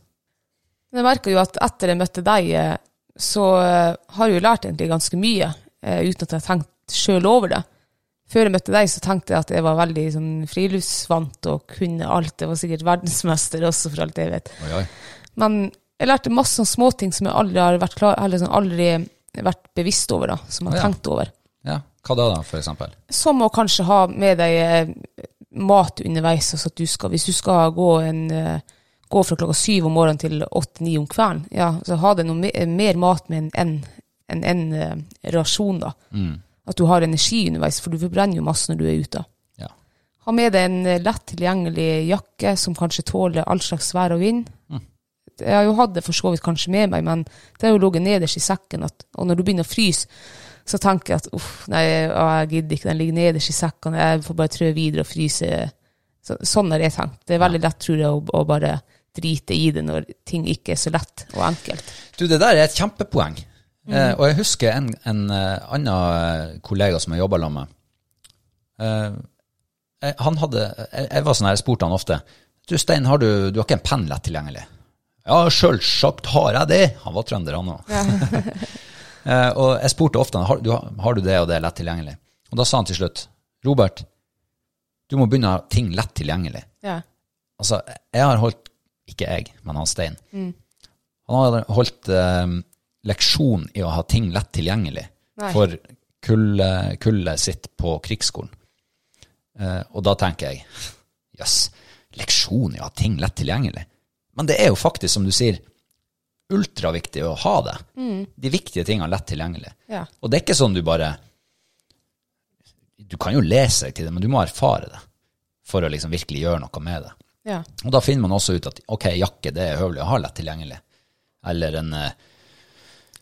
Speaker 2: Men jeg merker jo at etter jeg møtte deg, eh, så eh, har jeg jo lært egentlig ganske mye, eh, uten at jeg har tenkt sjøl over det. Før jeg møtte deg, så tenkte jeg at jeg var veldig sånn, friluftsvant og kunne alt. Jeg var sikkert verdensmester også, for alt jeg vet.
Speaker 1: Oi, oi.
Speaker 2: Men Jeg lærte masse sånne småting som jeg aldri har vært, klar, eller sånn aldri vært bevisst over, da, som
Speaker 1: Å,
Speaker 2: jeg har
Speaker 1: ja.
Speaker 2: tenkt over.
Speaker 1: Ja, Hva da, da, for eksempel?
Speaker 2: Som å kanskje ha med deg eh, mat underveis. Altså at du skal, hvis du skal gå, en, eh, gå fra klokka syv om morgenen til åtte-ni om kvelden, ja, så ha deg noe me mer mat med enn en, en, en rasjon. da. At du har energi underveis, for du forbrenner jo masse når du er ute.
Speaker 1: Ja.
Speaker 2: Ha med deg en eh, lett tilgjengelig jakke som kanskje tåler all slags vær og vind. Jeg har jo hatt det for så vidt kanskje med meg, men det har jo ligget nederst i sekken. At, og når du begynner å fryse, så tenker jeg at uff, nei, å, jeg gidder ikke, den ligger nederst i sekken, jeg får bare trø videre og fryse. Så, sånn har jeg tenkt. Det er veldig lett, tror jeg, å, å bare drite i det når ting ikke er så lett og enkelt.
Speaker 1: Du, det der er et kjempepoeng. Eh, og jeg husker en, en eh, annen eh, kollega som jeg jobba sammen med. Eh, jeg- han hadde, jeg, jeg var sånn her, jeg spurte han ofte Du, Stein, har du, du har ikke en penn lett tilgjengelig? Ja, sjølsagt har jeg det! Han var trønder, han òg. Eh, og jeg spurte ofte han, har, du, har du det og det lett tilgjengelig. Og da sa han til slutt Robert, du må begynne å ha ting lett tilgjengelig.
Speaker 2: Ja.
Speaker 1: Altså, jeg har holdt Ikke jeg, men han Stein. Han har holdt eh, leksjon i å ha ting lett tilgjengelig
Speaker 2: Nei.
Speaker 1: for kullet kulle sitt på krigsskolen. Eh, og da tenker jeg jøss, leksjon i å ha ting lett tilgjengelig. Men det er jo faktisk, som du sier, ultraviktig å ha det. De viktige tingene lett tilgjengelig.
Speaker 2: Ja.
Speaker 1: Og det er ikke sånn du bare Du kan jo lese deg til det, men du må erfare det for å liksom virkelig gjøre noe med det.
Speaker 2: ja.
Speaker 1: Og da finner man også ut at ok, jakke det er høvelig å ha lett tilgjengelig. Eller en eh,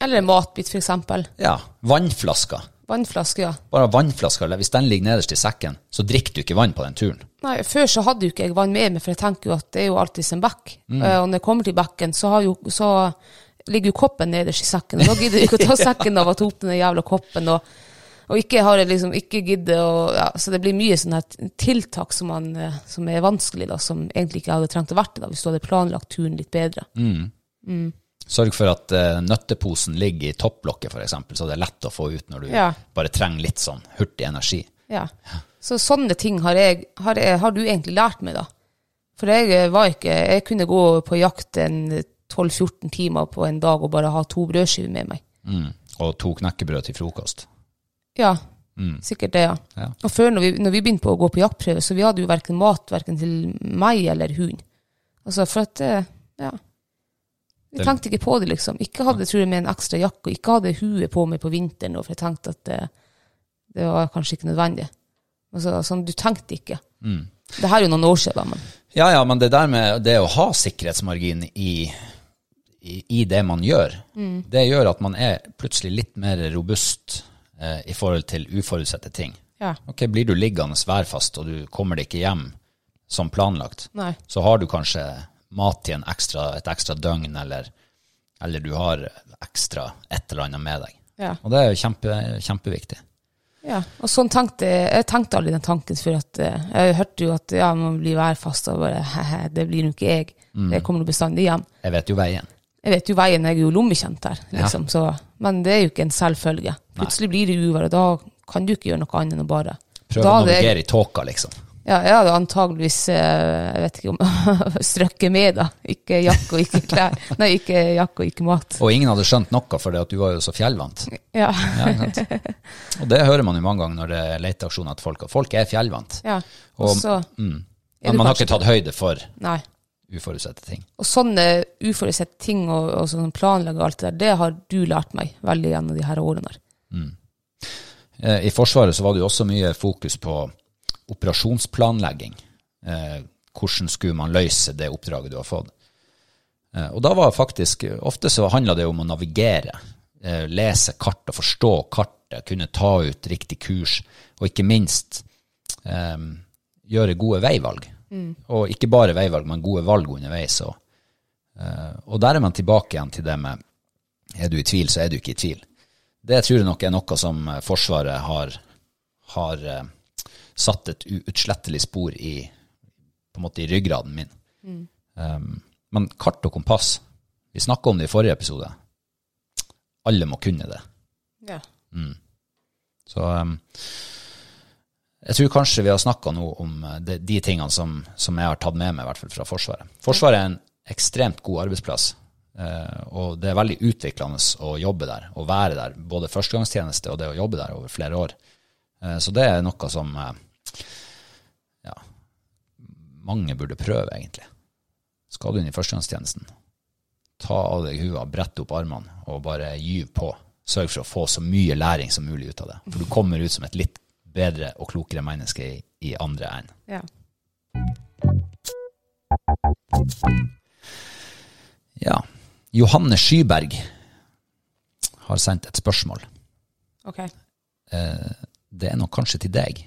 Speaker 2: Eller en matbit, for eksempel.
Speaker 1: ja, vannflaske.
Speaker 2: Vannflaske, ja.
Speaker 1: Bare vannflaska, eller hvis den ligger nederst i sekken, så drikker du ikke vann på den turen.
Speaker 2: Nei, Før så hadde jo ikke jeg vann med meg, for jeg tenker jo at det er jo alltid en bekk. Eh, og når jeg kommer til bekken, så, har jo, så ligger jo koppen nederst i sekken. Og da gidder jeg ikke å ta sekken av og ta opp den jævla koppen. Og, og ikke har jeg liksom ikke giddet å ja, Så det blir mye sånne her tiltak som, man, eh, som er vanskelig, da, som egentlig ikke hadde trengt å vært det da, hvis du hadde planlagt turen litt bedre.
Speaker 1: Sørg for at eh, nøtteposen ligger i topplokket, f.eks., så det er lett å få ut når du
Speaker 2: Ja.
Speaker 1: bare trenger litt sånn hurtig energi.
Speaker 2: Ja. Så sånne ting har, jeg, har, jeg, har du egentlig lært meg, da. For jeg eh, var ikke Jeg kunne gå på jakt en 12-14 timer på en dag og bare ha to brødskiver med meg.
Speaker 1: Mm. Og to knekkebrød til frokost.
Speaker 2: Ja, sikkert det, ja.
Speaker 1: Mm. Ja.
Speaker 2: Og før, når vi, når vi begynte på å gå på jaktprøve, så vi hadde jo verken mat verken til meg eller hund. Altså, for at eh, Ja. Vi
Speaker 1: Det-
Speaker 2: tenkte ikke på det, liksom. Ikke hadde tror jeg, med en ekstra jakke, og ikke hadde huet på meg på vinteren, og for jeg tenkte at eh, det var kanskje ikke nødvendig. Altså, sånn, du tenkte ikke.
Speaker 1: Mm.
Speaker 2: Det her er jo noen år siden, da, men
Speaker 1: Ja, ja, men det der med det å ha sikkerhetsmargin i, i, i det man gjør, det gjør at man er plutselig litt mer robust eh, i forhold til uforutsette ting.
Speaker 2: ja.
Speaker 1: Ok, Blir du liggende værfast, og du kommer deg ikke hjem som planlagt,
Speaker 2: Nei.
Speaker 1: så har du kanskje mat til en ekstra, et ekstra døgn, eller, eller du har ekstra et eller annet med deg.
Speaker 2: Ja.
Speaker 1: Og det er jo kjempe, kjempeviktig.
Speaker 2: Ja, og sånn tenkte jeg, jeg tenkte aldri den tanken, for at eh, jeg hørte jo at ja, man blir værfast, og bare hehe, det blir jo ikke jeg.
Speaker 1: Mm.
Speaker 2: Det kommer jo bestandig hjem.
Speaker 1: Jeg vet jo veien.
Speaker 2: Jeg vet jo veien, jeg er jo lommekjent her, liksom, så, men det er jo ikke en selvfølge. Plutselig blir det uvær, og da kan du ikke gjøre noe annet enn å bare
Speaker 1: Prøv
Speaker 2: Da
Speaker 1: å
Speaker 2: hadde jeg-
Speaker 1: navigere i tåka, liksom.
Speaker 2: Ja, jeg hadde antageligvis, eh, jeg vet ikke om, strøkket med da. Ikke jakke og ikke klær. Nei, ikke jakke og ikke mat.
Speaker 1: Og ingen hadde skjønt noe, for du var jo så fjellvant.
Speaker 2: Ja,
Speaker 1: Ja, ikke sant? Og det hører man jo mange ganger når det er leteaksjoner at folk, folk er fjellvant.
Speaker 2: ja.
Speaker 1: Og-
Speaker 2: Og så,
Speaker 1: Mm.
Speaker 2: Er du
Speaker 1: Men man har
Speaker 2: kanskje-
Speaker 1: ikke tatt høyde for
Speaker 2: nei.
Speaker 1: uforutsette ting.
Speaker 2: Og sånne uforutsette ting og, og sånn planlegge og alt det der, det har du lært meg veldig gjennom de her årene. her.
Speaker 1: Eh, I Forsvaret så var det jo også mye fokus på operasjonsplanlegging. Eh, hvordan skulle man løse det oppdraget du har fått? Eh, og da var faktisk, ofte så handla det om å navigere. Eh, lese kart og forstå kartet, kunne ta ut riktig kurs, og ikke minst eh, gjøre gode veivalg. Og ikke bare veivalg, men gode valg underveis. Og, eh, og der er man tilbake igjen til det med er du i tvil, så er du ikke i tvil. Det tror jeg nok er noe som eh, Forsvaret har, har eh, satt et uutslettelig spor i, på en måte i ryggraden min. Um, men kart og kompass, vi snakka om det i forrige episode. Alle må kunne det. Mm.
Speaker 2: Ja.
Speaker 1: Så um, jeg tror kanskje vi har snakka nå om eh, de, de tingene som, som jeg har tatt med meg, i hvert fall fra Forsvaret. Forsvaret er en ekstremt god arbeidsplass. Eh, og det er veldig utviklende å jobbe der, å være der. Både førstegangstjeneste og det å jobbe der over flere år. Eh, så det er noe som eh, ja, mange burde prøve, egentlig. Skal du inn i førstegangstjenesten, ta av deg hua, brett opp armene og bare gyv på. Sørg for å få så mye læring som mulig ut av det. For du kommer ut som et litt bedre og klokere menneske i, i andre enden.
Speaker 2: Ja.
Speaker 1: Ja. Johanne Skyberg har sendt et spørsmål.
Speaker 2: Ok.
Speaker 1: Eh, det er nok kanskje til deg.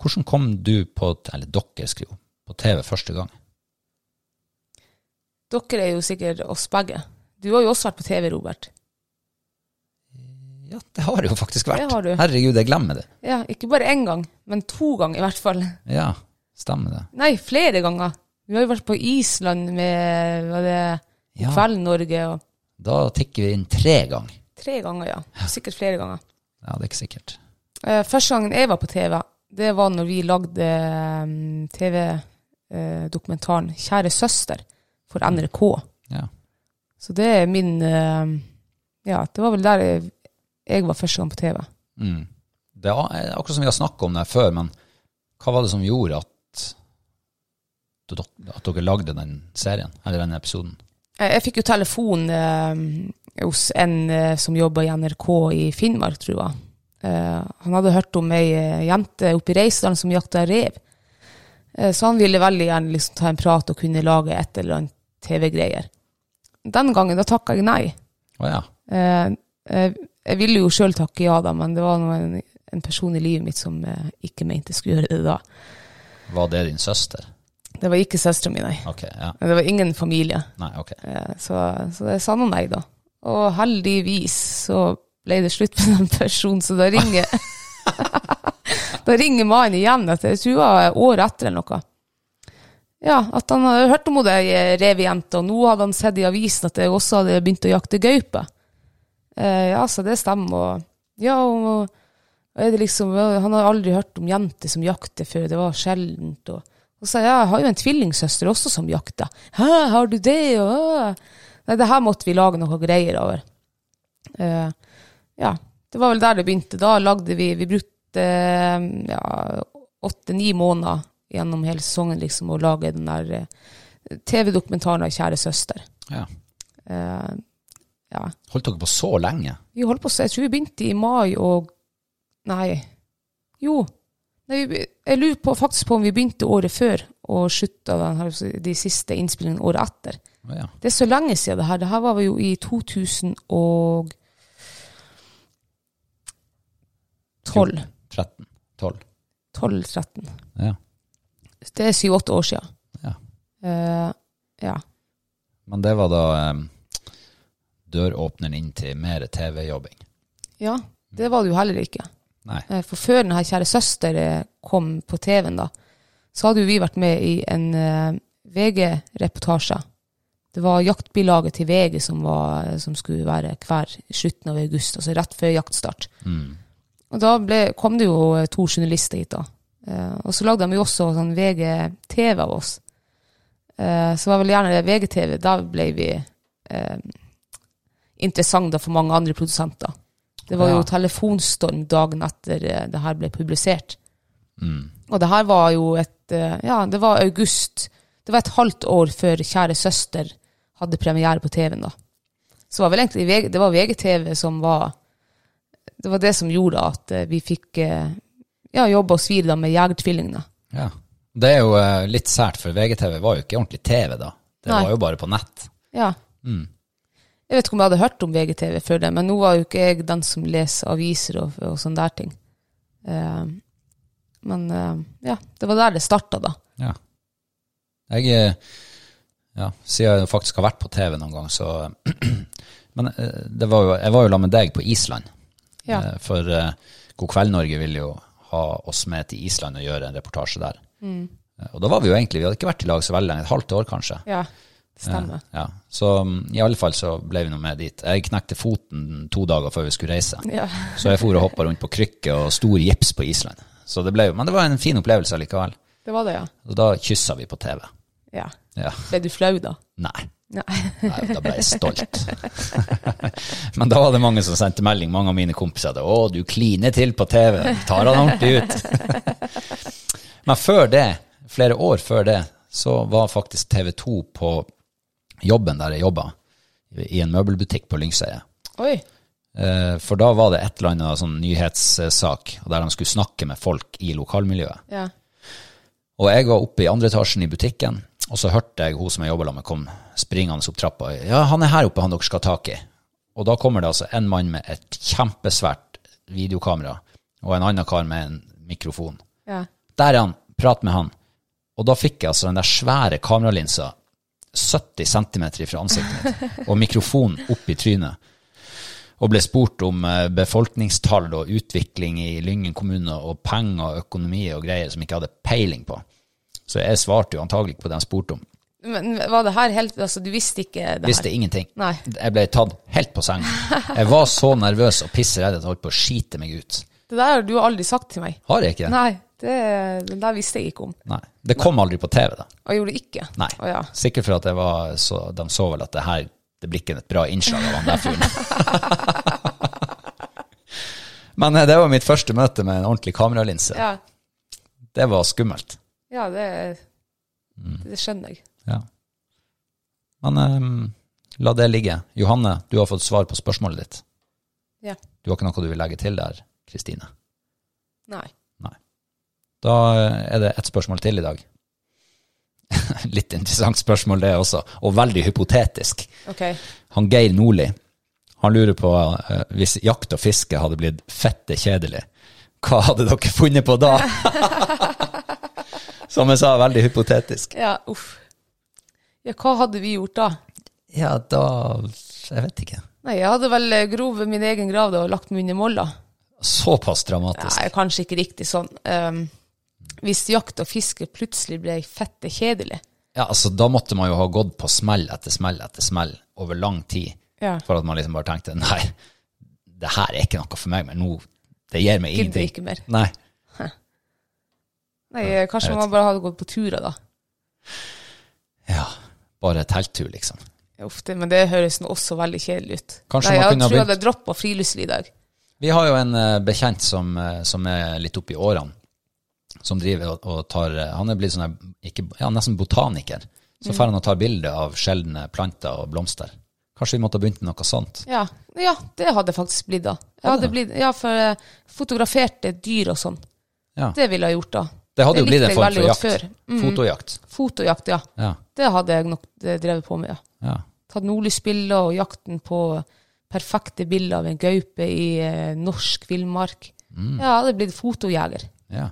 Speaker 1: Hvordan kom du på, t- eller dere skriver, hun, på TV første gang?
Speaker 2: Dere er jo sikkert oss begge. Du har jo også vært på TV, Robert.
Speaker 1: Ja, det har det jo faktisk vært.
Speaker 2: Det har du.
Speaker 1: Herregud, jeg glemmer det.
Speaker 2: Ja, ikke bare én gang, men to ganger i hvert fall.
Speaker 1: Ja, stemmer det.
Speaker 2: Nei, flere ganger. Du har jo vært på Island med var det
Speaker 1: Ja.
Speaker 2: Kveld Norge og
Speaker 1: Da tikker vi inn tre ganger.
Speaker 2: Tre ganger, ja. Sikkert flere ganger.
Speaker 1: Ja, det er ikke sikkert.
Speaker 2: Eh, første gangen jeg var på TV, det var når vi lagde mm, TV-dokumentaren eh, 'Kjære søster' for NRK.
Speaker 1: Ja.
Speaker 2: Så det er min eh, Ja, det var vel der jeg, jeg var første gang på TV.
Speaker 1: Mm. Det er akkurat som vi har snakket om det her før, men hva var det som gjorde at, at dere lagde den serien, eller den episoden?
Speaker 2: Eh, Jeg fikk jo telefon eh, hos en eh, som jobba i NRK i Finnmark, tror jeg. Eh, han hadde hørt om ei eh, jente oppe i Reisedalen som jakta rev. Eh, så han ville veldig gjerne liksom ta en prat og kunne lage et eller annet TV-greier. Den gangen da takka jeg nei.
Speaker 1: Å ja.
Speaker 2: Eh, eh, jeg ville jo sjøl takke ja, da, men det var nå en, en person i livet mitt som eh, ikke mente jeg skulle gjøre det da.
Speaker 1: Var det din søster?
Speaker 2: Det var ikke søstera mi, nei.
Speaker 1: Ok, ja.
Speaker 2: Det var ingen familie.
Speaker 1: Nei, ok.
Speaker 2: Eh, Så, så jeg sa nå nei, da. Og heldigvis så ble det slutt med den personen, så da ringer Da ringer mannen igjen, etter, jeg tror det var året etter eller noe. Ja, at han hadde hørt om hun der revejenta, og nå hadde han sett i avisen at jeg også hadde begynt å jakte gaupe. Eh, ja, så det stemmer, og ja, og, og er det liksom Han har aldri hørt om jenter som jakter før, det var sjeldent, og og sa jeg, jeg har jo en tvillingsøster også som jakter. Hæ, har du det? Og, øh. Nei, det her måtte vi lage noe greier over. Eh, ja, det var vel der det begynte. Da lagde vi, vi brukte eh, ja, åtte-ni måneder gjennom hele sesongen liksom, å lage den der eh, TV-dokumentaren av Kjære søster.
Speaker 1: Ja.
Speaker 2: Eh, ja.
Speaker 1: Holdt dere på så lenge?
Speaker 2: Vi holdt på, så jeg tror vi begynte i mai og Nei. Jo. Nei, vi- jeg lurer på, faktisk på om vi begynte året før og slutta den her- altså, de siste innspillingene året etter.
Speaker 1: Å Ja.
Speaker 2: Det er så lenge siden det her. Det her var jo i 2012.
Speaker 1: 13? 12?
Speaker 2: 12-13.
Speaker 1: Ja.
Speaker 2: Det er syv-åtte år siden.
Speaker 1: ja.
Speaker 2: Eh, ja.
Speaker 1: Men det var da eh, døråpneren inn til mer TV-jobbing.
Speaker 2: ja. Det var det jo heller ikke.
Speaker 1: Nei.
Speaker 2: Eh, For før denne kjære søster eh, kom på TV-en, da, så hadde jo vi vært med i en eh, VG-reportasje. Det var jaktbilaget til VG som, var, eh, som skulle være hver i slutten av august, altså rett før jaktstart. Og da ble, kom det jo eh, to journalister hit, da. Eh, og så lagde de jo også sånn VG-TV av oss. Eh, så var vel gjerne det VGTV. Da ble vi eh, interessante da for mange andre produsenter. Det var
Speaker 1: Ja.
Speaker 2: jo telefonstorm dagen etter eh, det her ble publisert. Og det her var jo et eh, Ja, det var august. Det var et halvt år før Kjære søster hadde premiere på TV-en, da. Så var vel egentlig VG, det var VGTV som var Det var det som gjorde at eh, vi fikk eh, ja, jobba oss videre da med Jegertvillingene.
Speaker 1: Ja. Det er jo eh, litt sært, for VGTV var jo ikke ordentlig TV da. Det
Speaker 2: Nei.
Speaker 1: var jo bare på nett. Mm.
Speaker 2: Ja. Jeg vet ikke om jeg hadde hørt om VGTV før det, men nå var jo ikke jeg den som leser aviser og, og sånne der ting. Eh, men eh, ja, det var der det starta, da.
Speaker 1: Ja. Jeg, eh, ja, siden jeg faktisk har vært på TV noen gang, så Men eh, det var jo, jeg var jo sammen med deg på Island.
Speaker 2: Ja.
Speaker 1: Eh, For eh, God kveld Norge ville jo ha oss med til Island og gjøre en reportasje der. Eh, Og da var vi jo egentlig, vi hadde ikke vært i lag så veldig lenge, et halvt år kanskje.
Speaker 2: Ja, stemmer.
Speaker 1: Ja, Så mm, i alle fall så ble vi nå med dit. Jeg knekte foten to dager før vi skulle reise.
Speaker 2: Ja.
Speaker 1: Så jeg for og hoppa rundt på krykke og stor gips på Island. Så det ble jo, Men det var en fin opplevelse likevel.
Speaker 2: Det var det, ja.
Speaker 1: Og da kyssa vi på TV.
Speaker 2: ja.
Speaker 1: Ja.
Speaker 2: Ble du flau, da?
Speaker 1: Nei.
Speaker 2: Nei.
Speaker 1: Nei, da ble jeg stolt. Men da var det mange som sendte melding, mange av mine kompiser. Da, 'Å, du kliner til på TV. Tar han ordentlig ut?' Men før det, flere år før det, så var faktisk TV 2 på jobben der jeg jobba, i en møbelbutikk på Lyngseidet.
Speaker 2: Oi.
Speaker 1: Eh, For da var det et eller annet sånn nyhetssak der de skulle snakke med folk i lokalmiljøet.
Speaker 2: Ja.
Speaker 1: Og jeg var oppe i andre etasjen i butikken, og så hørte jeg hun som jeg jobba med, kom springende opp trappa. Ja, han er her oppe, han dere skal ha tak i. Og da kommer det altså en mann med et kjempesvært videokamera, og en annen kar med en mikrofon.
Speaker 2: Ja.
Speaker 1: Der er han, prat med han. Og da fikk jeg altså den der svære kameralinsa 70 cm fra ansiktet mitt, og mikrofonen opp i trynet. Og ble spurt om eh, befolkningstall og utvikling i Lyngen kommune, og penger og økonomi og greier som jeg ikke hadde peiling på. Så jeg svarte jo antagelig ikke på det han spurte om.
Speaker 2: Men var det her helt Altså, du visste ikke det
Speaker 1: Visste
Speaker 2: her?
Speaker 1: ingenting.
Speaker 2: Nei.
Speaker 1: Jeg ble tatt helt på senga. Jeg var så nervøs og pissredd at jeg holdt på å skite meg ut.
Speaker 2: Det der har du aldri sagt til meg.
Speaker 1: Har jeg ikke det?
Speaker 2: Nei, det, det der visste jeg ikke om.
Speaker 1: Nei. Det kom aldri på TV, da.
Speaker 2: Og jeg gjorde det ikke.
Speaker 1: Nei.
Speaker 2: Å, ja.
Speaker 1: Sikkert for at jeg var så, de så vel at det her det blir ikke et bra innslag av han der fyren. Men eh, det var mitt første møte med en ordentlig kameralinse.
Speaker 2: Ja.
Speaker 1: Det var skummelt.
Speaker 2: ja, det Det skjønner jeg.
Speaker 1: Ja. Men eh, la det ligge. Johanne, du har fått svar på spørsmålet ditt.
Speaker 2: Ja.
Speaker 1: Du har ikke noe du vil legge til der, Kristine?
Speaker 2: Nei.
Speaker 1: Da eh, er det ett spørsmål til i dag. Litt interessant spørsmål det også, og veldig hypotetisk.
Speaker 2: OK.
Speaker 1: Han Geir Nordli, han lurer på eh, hvis jakt og fiske hadde blitt fette kjedelig, hva hadde dere funnet på da? Som jeg sa, veldig hypotetisk.
Speaker 2: Ja, uff. Ja, hva hadde vi gjort da?
Speaker 1: Ja, da Jeg vet ikke.
Speaker 2: Nei, jeg hadde vel eh, grov min egen grav da og lagt meg under molla.
Speaker 1: Såpass dramatisk.
Speaker 2: Nei, kanskje ikke riktig sånn. Ehm, hvis jakt og fiske plutselig ble fette kjedelig.
Speaker 1: Ja, altså, da måtte man jo ha gått på smell etter smell etter smell over lang tid
Speaker 2: Ja.
Speaker 1: for at man liksom bare tenkte nei, det her er ikke noe for meg, men nå Det gir meg
Speaker 2: Gidder
Speaker 1: ingenting.
Speaker 2: ikke mer.
Speaker 1: Nei.
Speaker 2: Nei, eh, kanskje
Speaker 1: jeg
Speaker 2: man bare hadde gått på turer da.
Speaker 1: Ja. Bare telttur, liksom.
Speaker 2: Uff, det, men det høres nå også veldig kjedelig ut.
Speaker 1: Kanskje
Speaker 2: Nei,
Speaker 1: man kunne ha
Speaker 2: jeg tror jeg hadde droppa friluftsliv i dag.
Speaker 1: Vi har jo en eh, bekjent som, eh, som er litt oppi årene, som driver og, og tar eh, Han er blitt sånn her, ikke, ja, nesten botaniker. Så drar han og tar bilder av sjeldne planter og blomster. Kanskje vi måtte ha begynt med noe sånt?
Speaker 2: Ja, ja det hadde jeg faktisk blitt da. Jeg hadde blitt, ja, for eh, fotograferte dyr og sånn.
Speaker 1: Ja.
Speaker 2: Det ville jeg gjort da.
Speaker 1: Det hadde jo
Speaker 2: likte
Speaker 1: blitt en
Speaker 2: jeg
Speaker 1: form
Speaker 2: veldig
Speaker 1: for
Speaker 2: godt
Speaker 1: jakt.
Speaker 2: før. Mm.
Speaker 1: Fotojakt.
Speaker 2: Fotojakt, ja.
Speaker 1: Ja.
Speaker 2: Det hadde jeg nok eh, drevet på med, ja.
Speaker 1: ja.
Speaker 2: Tatt nordlysbilder og jakten på perfekte bilder av en gaupe i eh, norsk villmark. Ja, jeg hadde blitt fotojeger.
Speaker 1: Ja.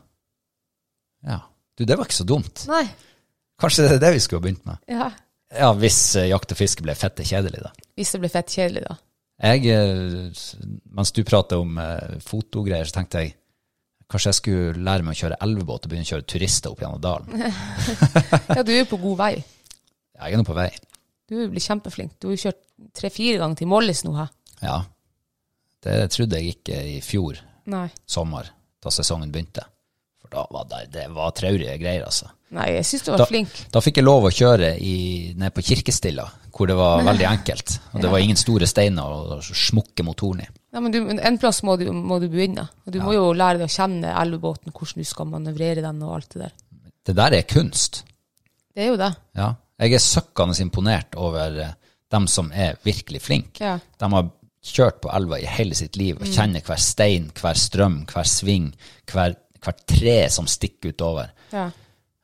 Speaker 1: ja. Du, det var ikke så dumt.
Speaker 2: Nei,
Speaker 1: Kanskje det er det vi skulle ha begynt med?
Speaker 2: ja.
Speaker 1: Ja, hvis eh, jakt og fiske ble fette kjedelig, da.
Speaker 2: Hvis det ble fett kjedelig da.
Speaker 1: Jeg, eh, s- mens du pratet om eh, fotogreier, så tenkte jeg kanskje jeg skulle lære meg å kjøre elvebåt og begynne å kjøre turister opp gjennom dalen.
Speaker 2: Ja, du er jo på god vei.
Speaker 1: Jeg er nå på vei.
Speaker 2: Du er jo blitt kjempeflink. Du har jo kjørt tre-fire ganger til Mollis nå her.
Speaker 1: Ja. Det trodde jeg ikke i fjor
Speaker 2: Nei.
Speaker 1: sommer, da sesongen begynte. For da var det, det var traurige greier, altså.
Speaker 2: Nei, jeg synes du var
Speaker 1: Da,
Speaker 2: flink.
Speaker 1: da fikk jeg lov å kjøre i, ned på Kirkestilla, hvor det var veldig enkelt. Og det var ingen store steiner å smukke motoren i.
Speaker 2: Nei, men du, men en plass må du, må du begynne. Og du må jo lære deg å kjenne elvebåten, hvordan du skal manøvrere den og alt det der.
Speaker 1: Det der er kunst.
Speaker 2: Det er jo det.
Speaker 1: Ja. Jeg er søkkende imponert over eh, dem som er virkelig flinke.
Speaker 2: Ja.
Speaker 1: De har kjørt på elva i hele sitt liv
Speaker 2: Mm.
Speaker 1: og kjenner hver stein, hver strøm, hver sving, hver, hvert tre som stikker utover.
Speaker 2: Ja.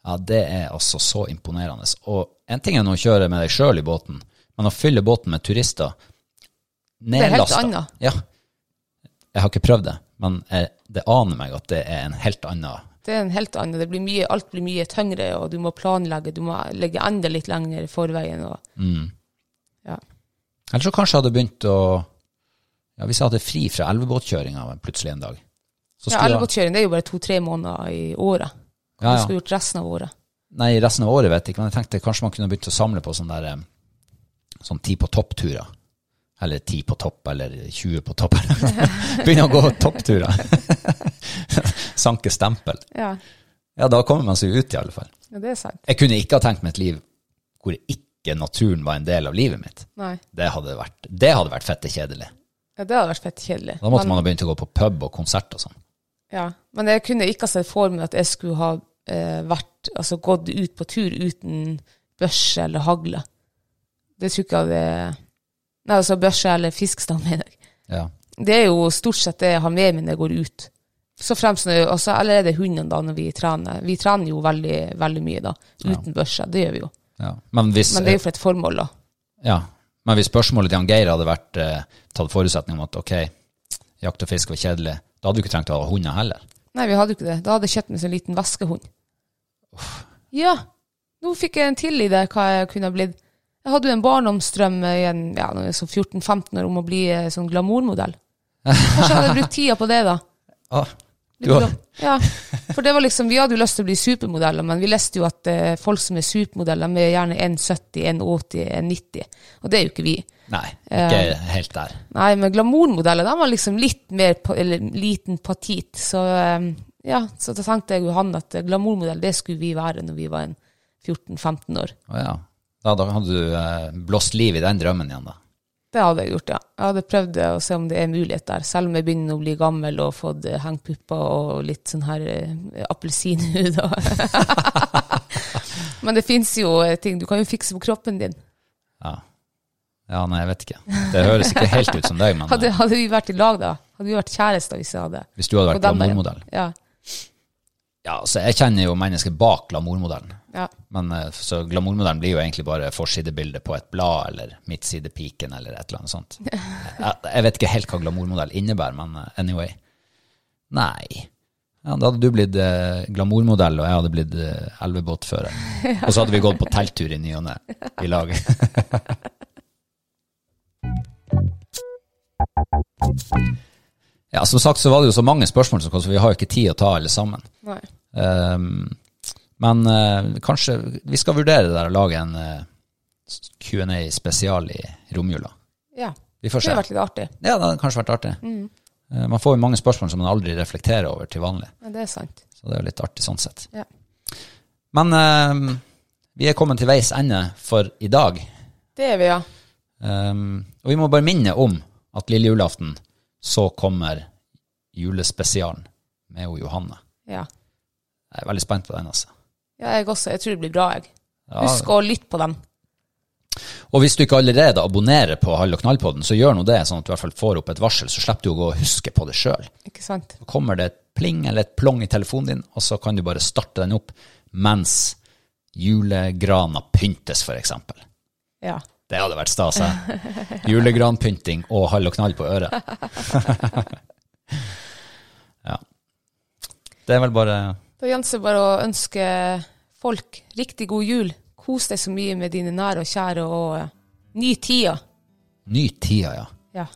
Speaker 1: Ja, Det er altså så imponerende. Og en ting er nå å kjøre med deg sjøl i båten, men å fylle båten med turister
Speaker 2: er helt
Speaker 1: nedlasta-
Speaker 2: annet.
Speaker 1: Ja. Jeg har ikke prøvd det, men jeg, det aner meg at det er en helt annen
Speaker 2: Det er en helt annen. Det blir mye, alt blir mye tyngre, og du må planlegge. Du må legge enda litt lenger i forveien. Og,
Speaker 1: Mm.
Speaker 2: ja.
Speaker 1: Eller så kanskje jeg hadde begynt å ja, Hvis jeg hadde fri fra elvebåtkjøringa plutselig en dag så
Speaker 2: ja,
Speaker 1: skulle jeg,
Speaker 2: Elvebåtkjøring det er jo bare to-tre måneder i året.
Speaker 1: Ja,
Speaker 2: Du
Speaker 1: ja.
Speaker 2: skulle gjort resten av året.
Speaker 1: Nei, resten av året vet jeg ikke, men jeg tenkte kanskje man kunne begynt å samle på sånne der, eh, sånn ti på topp-turer. Eller ti på topp, eller 20 på topp. Begynne å gå toppturer. Sanke stempel.
Speaker 2: Ja.
Speaker 1: Ja, da kommer man seg ut, i alle fall.
Speaker 2: ja, det er sant.
Speaker 1: Jeg kunne ikke ha tenkt meg et liv hvor jeg ikke ikke naturen var en del av livet mitt.
Speaker 2: Nei.
Speaker 1: Det hadde vært, det hadde vært fette kjedelig.
Speaker 2: Ja, det hadde vært fett kjedelig.
Speaker 1: Da måtte
Speaker 2: Men-
Speaker 1: man ha begynt å gå på pub og konsert og sånn.
Speaker 2: Ja, men jeg kunne ikke ha sett for meg at jeg skulle ha eh, vært, altså gått ut på tur uten børse eller hagle. Det tror ikke jeg hadde Nei, altså børse eller fiskestang, mener jeg.
Speaker 1: Ja.
Speaker 2: Det er jo stort sett det jeg har med meg når jeg går ut. Så fremst når jeg, altså, Eller er det hundene, da, når vi trener. Vi trener jo veldig, veldig mye, da. Uten børse. Det gjør vi jo.
Speaker 1: Ja. Men, hvis,
Speaker 2: Men det er jo for et formål, da.
Speaker 1: ja. Men hvis spørsmålet til han Geir hadde vært eh, tatt forutsetning om at ok, jakt og fisk var kjedelig, da hadde du ikke trengt å ha hunder heller.
Speaker 2: Nei, vi hadde jo ikke det. Da hadde jeg kjøpt meg en sånn liten veskehund. Ja, nå fikk jeg en til idé hva jeg kunne ha blitt. Jeg hadde jo en barndomsdrøm i en, ja, når jeg var sånn 14-15 år om å bli eh, sånn glamourmodell. Kanskje jeg hadde brukt tida på det, da.
Speaker 1: Ah,
Speaker 2: Litt
Speaker 1: du har-
Speaker 2: glam- Liksom, Ja, for det var liksom, Vi hadde jo lyst til å bli supermodeller, men vi leste jo at eh, folk som er supermodeller, de er gjerne 1,70, 1,80, 1,90. Og det er jo ikke vi.
Speaker 1: nei, ikke helt der.
Speaker 2: Nei, men glamourmodeller de var liksom litt mer pa- eller, liten patit. Så eh, ja, så da tenkte jeg og han at eh, glamourmodell, det skulle vi være når vi var en 14-15 år.
Speaker 1: Å ja. Da, da hadde du eh, blåst liv i den drømmen igjen, da.
Speaker 2: Det hadde jeg gjort, ja. Jeg hadde prøvd eh, å se om det er mulighet der. Selv om jeg begynner å bli gammel og fått eh, hengpupper og litt sånn her eh, appelsinhud. og- Men det fins jo eh, ting du kan jo fikse på kroppen din.
Speaker 1: Ja. ja, nei, jeg vet ikke. Det høres ikke helt ut som deg, men
Speaker 2: Hadde,
Speaker 1: eh,
Speaker 2: hadde vi vært i lag da, hadde vi vært kjærester hvis jeg hadde
Speaker 1: hvis du hadde
Speaker 2: Og
Speaker 1: vært
Speaker 2: dem er-
Speaker 1: glamourmodell
Speaker 2: Ja,
Speaker 1: Ja, så jeg kjenner jo mennesker bak glamourmodellen.
Speaker 2: ja.
Speaker 1: Men eh, så glamourmodellen blir jo egentlig bare forsidebildet på et blad eller midtsidepiken eller et eller annet sånt. Jeg, jeg vet ikke helt hva glamourmodell innebærer, men eh, anyway. Nei. Ja, da hadde du blitt eh, glamourmodell, og jeg hadde blitt eh, elvebåtfører. Og så hadde vi gått på telttur i ny og ne i lag. Ja, som sagt så var det jo så mange spørsmål, så vi har jo ikke tid å ta alle sammen.
Speaker 2: Nei.
Speaker 1: Um, men eh, kanskje vi skal vurdere det der og lage en eh, Q&A spesial i romjula.
Speaker 2: ja.
Speaker 1: Vi får
Speaker 2: Det
Speaker 1: se.
Speaker 2: hadde vært Mm. litt artig.
Speaker 1: Ja, det hadde kanskje vært artig. Eh, man får jo mange spørsmål som man aldri reflekterer over til vanlig.
Speaker 2: Ja, det er sant.
Speaker 1: Så det er jo litt artig sånn sett.
Speaker 2: Ja.
Speaker 1: Men eh, vi er kommet til veis ende for i dag.
Speaker 2: Det er vi, ja.
Speaker 1: Um, og vi må bare minne om at lille julaften så kommer julespesialen med jo Johanne.
Speaker 2: ja.
Speaker 1: Jeg er veldig spent på den, altså.
Speaker 2: Ja, jeg også. Jeg tror det blir bra, jeg.
Speaker 1: Ja.
Speaker 2: Husk å lytte på den.
Speaker 1: Og hvis du ikke allerede abonnerer på Hall og knall-podden, så gjør nå det, sånn at du i hvert fall får opp et varsel, så slipper du å gå og huske på det sjøl.
Speaker 2: Ikke sant?
Speaker 1: Så kommer det et pling eller et plong i telefonen din, og så kan du bare starte den opp mens julegrana pyntes, f.eks.
Speaker 2: Ja.
Speaker 1: Det hadde vært stas. eh? Julegranpynting og Hall og knall på øret. ja. Det er vel bare
Speaker 2: Da gjenstår det bare å ønske folk riktig god jul. Kos deg så mye med dine nære og kjære, og eh, ny tida.
Speaker 1: ny tida, ja.
Speaker 2: Ja.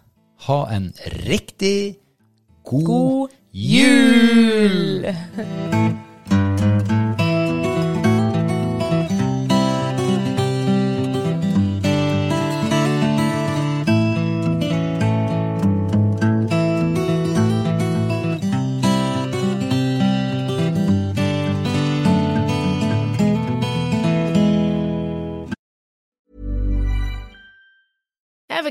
Speaker 1: Ha en riktig god,
Speaker 2: God
Speaker 1: jul!
Speaker 3: Ever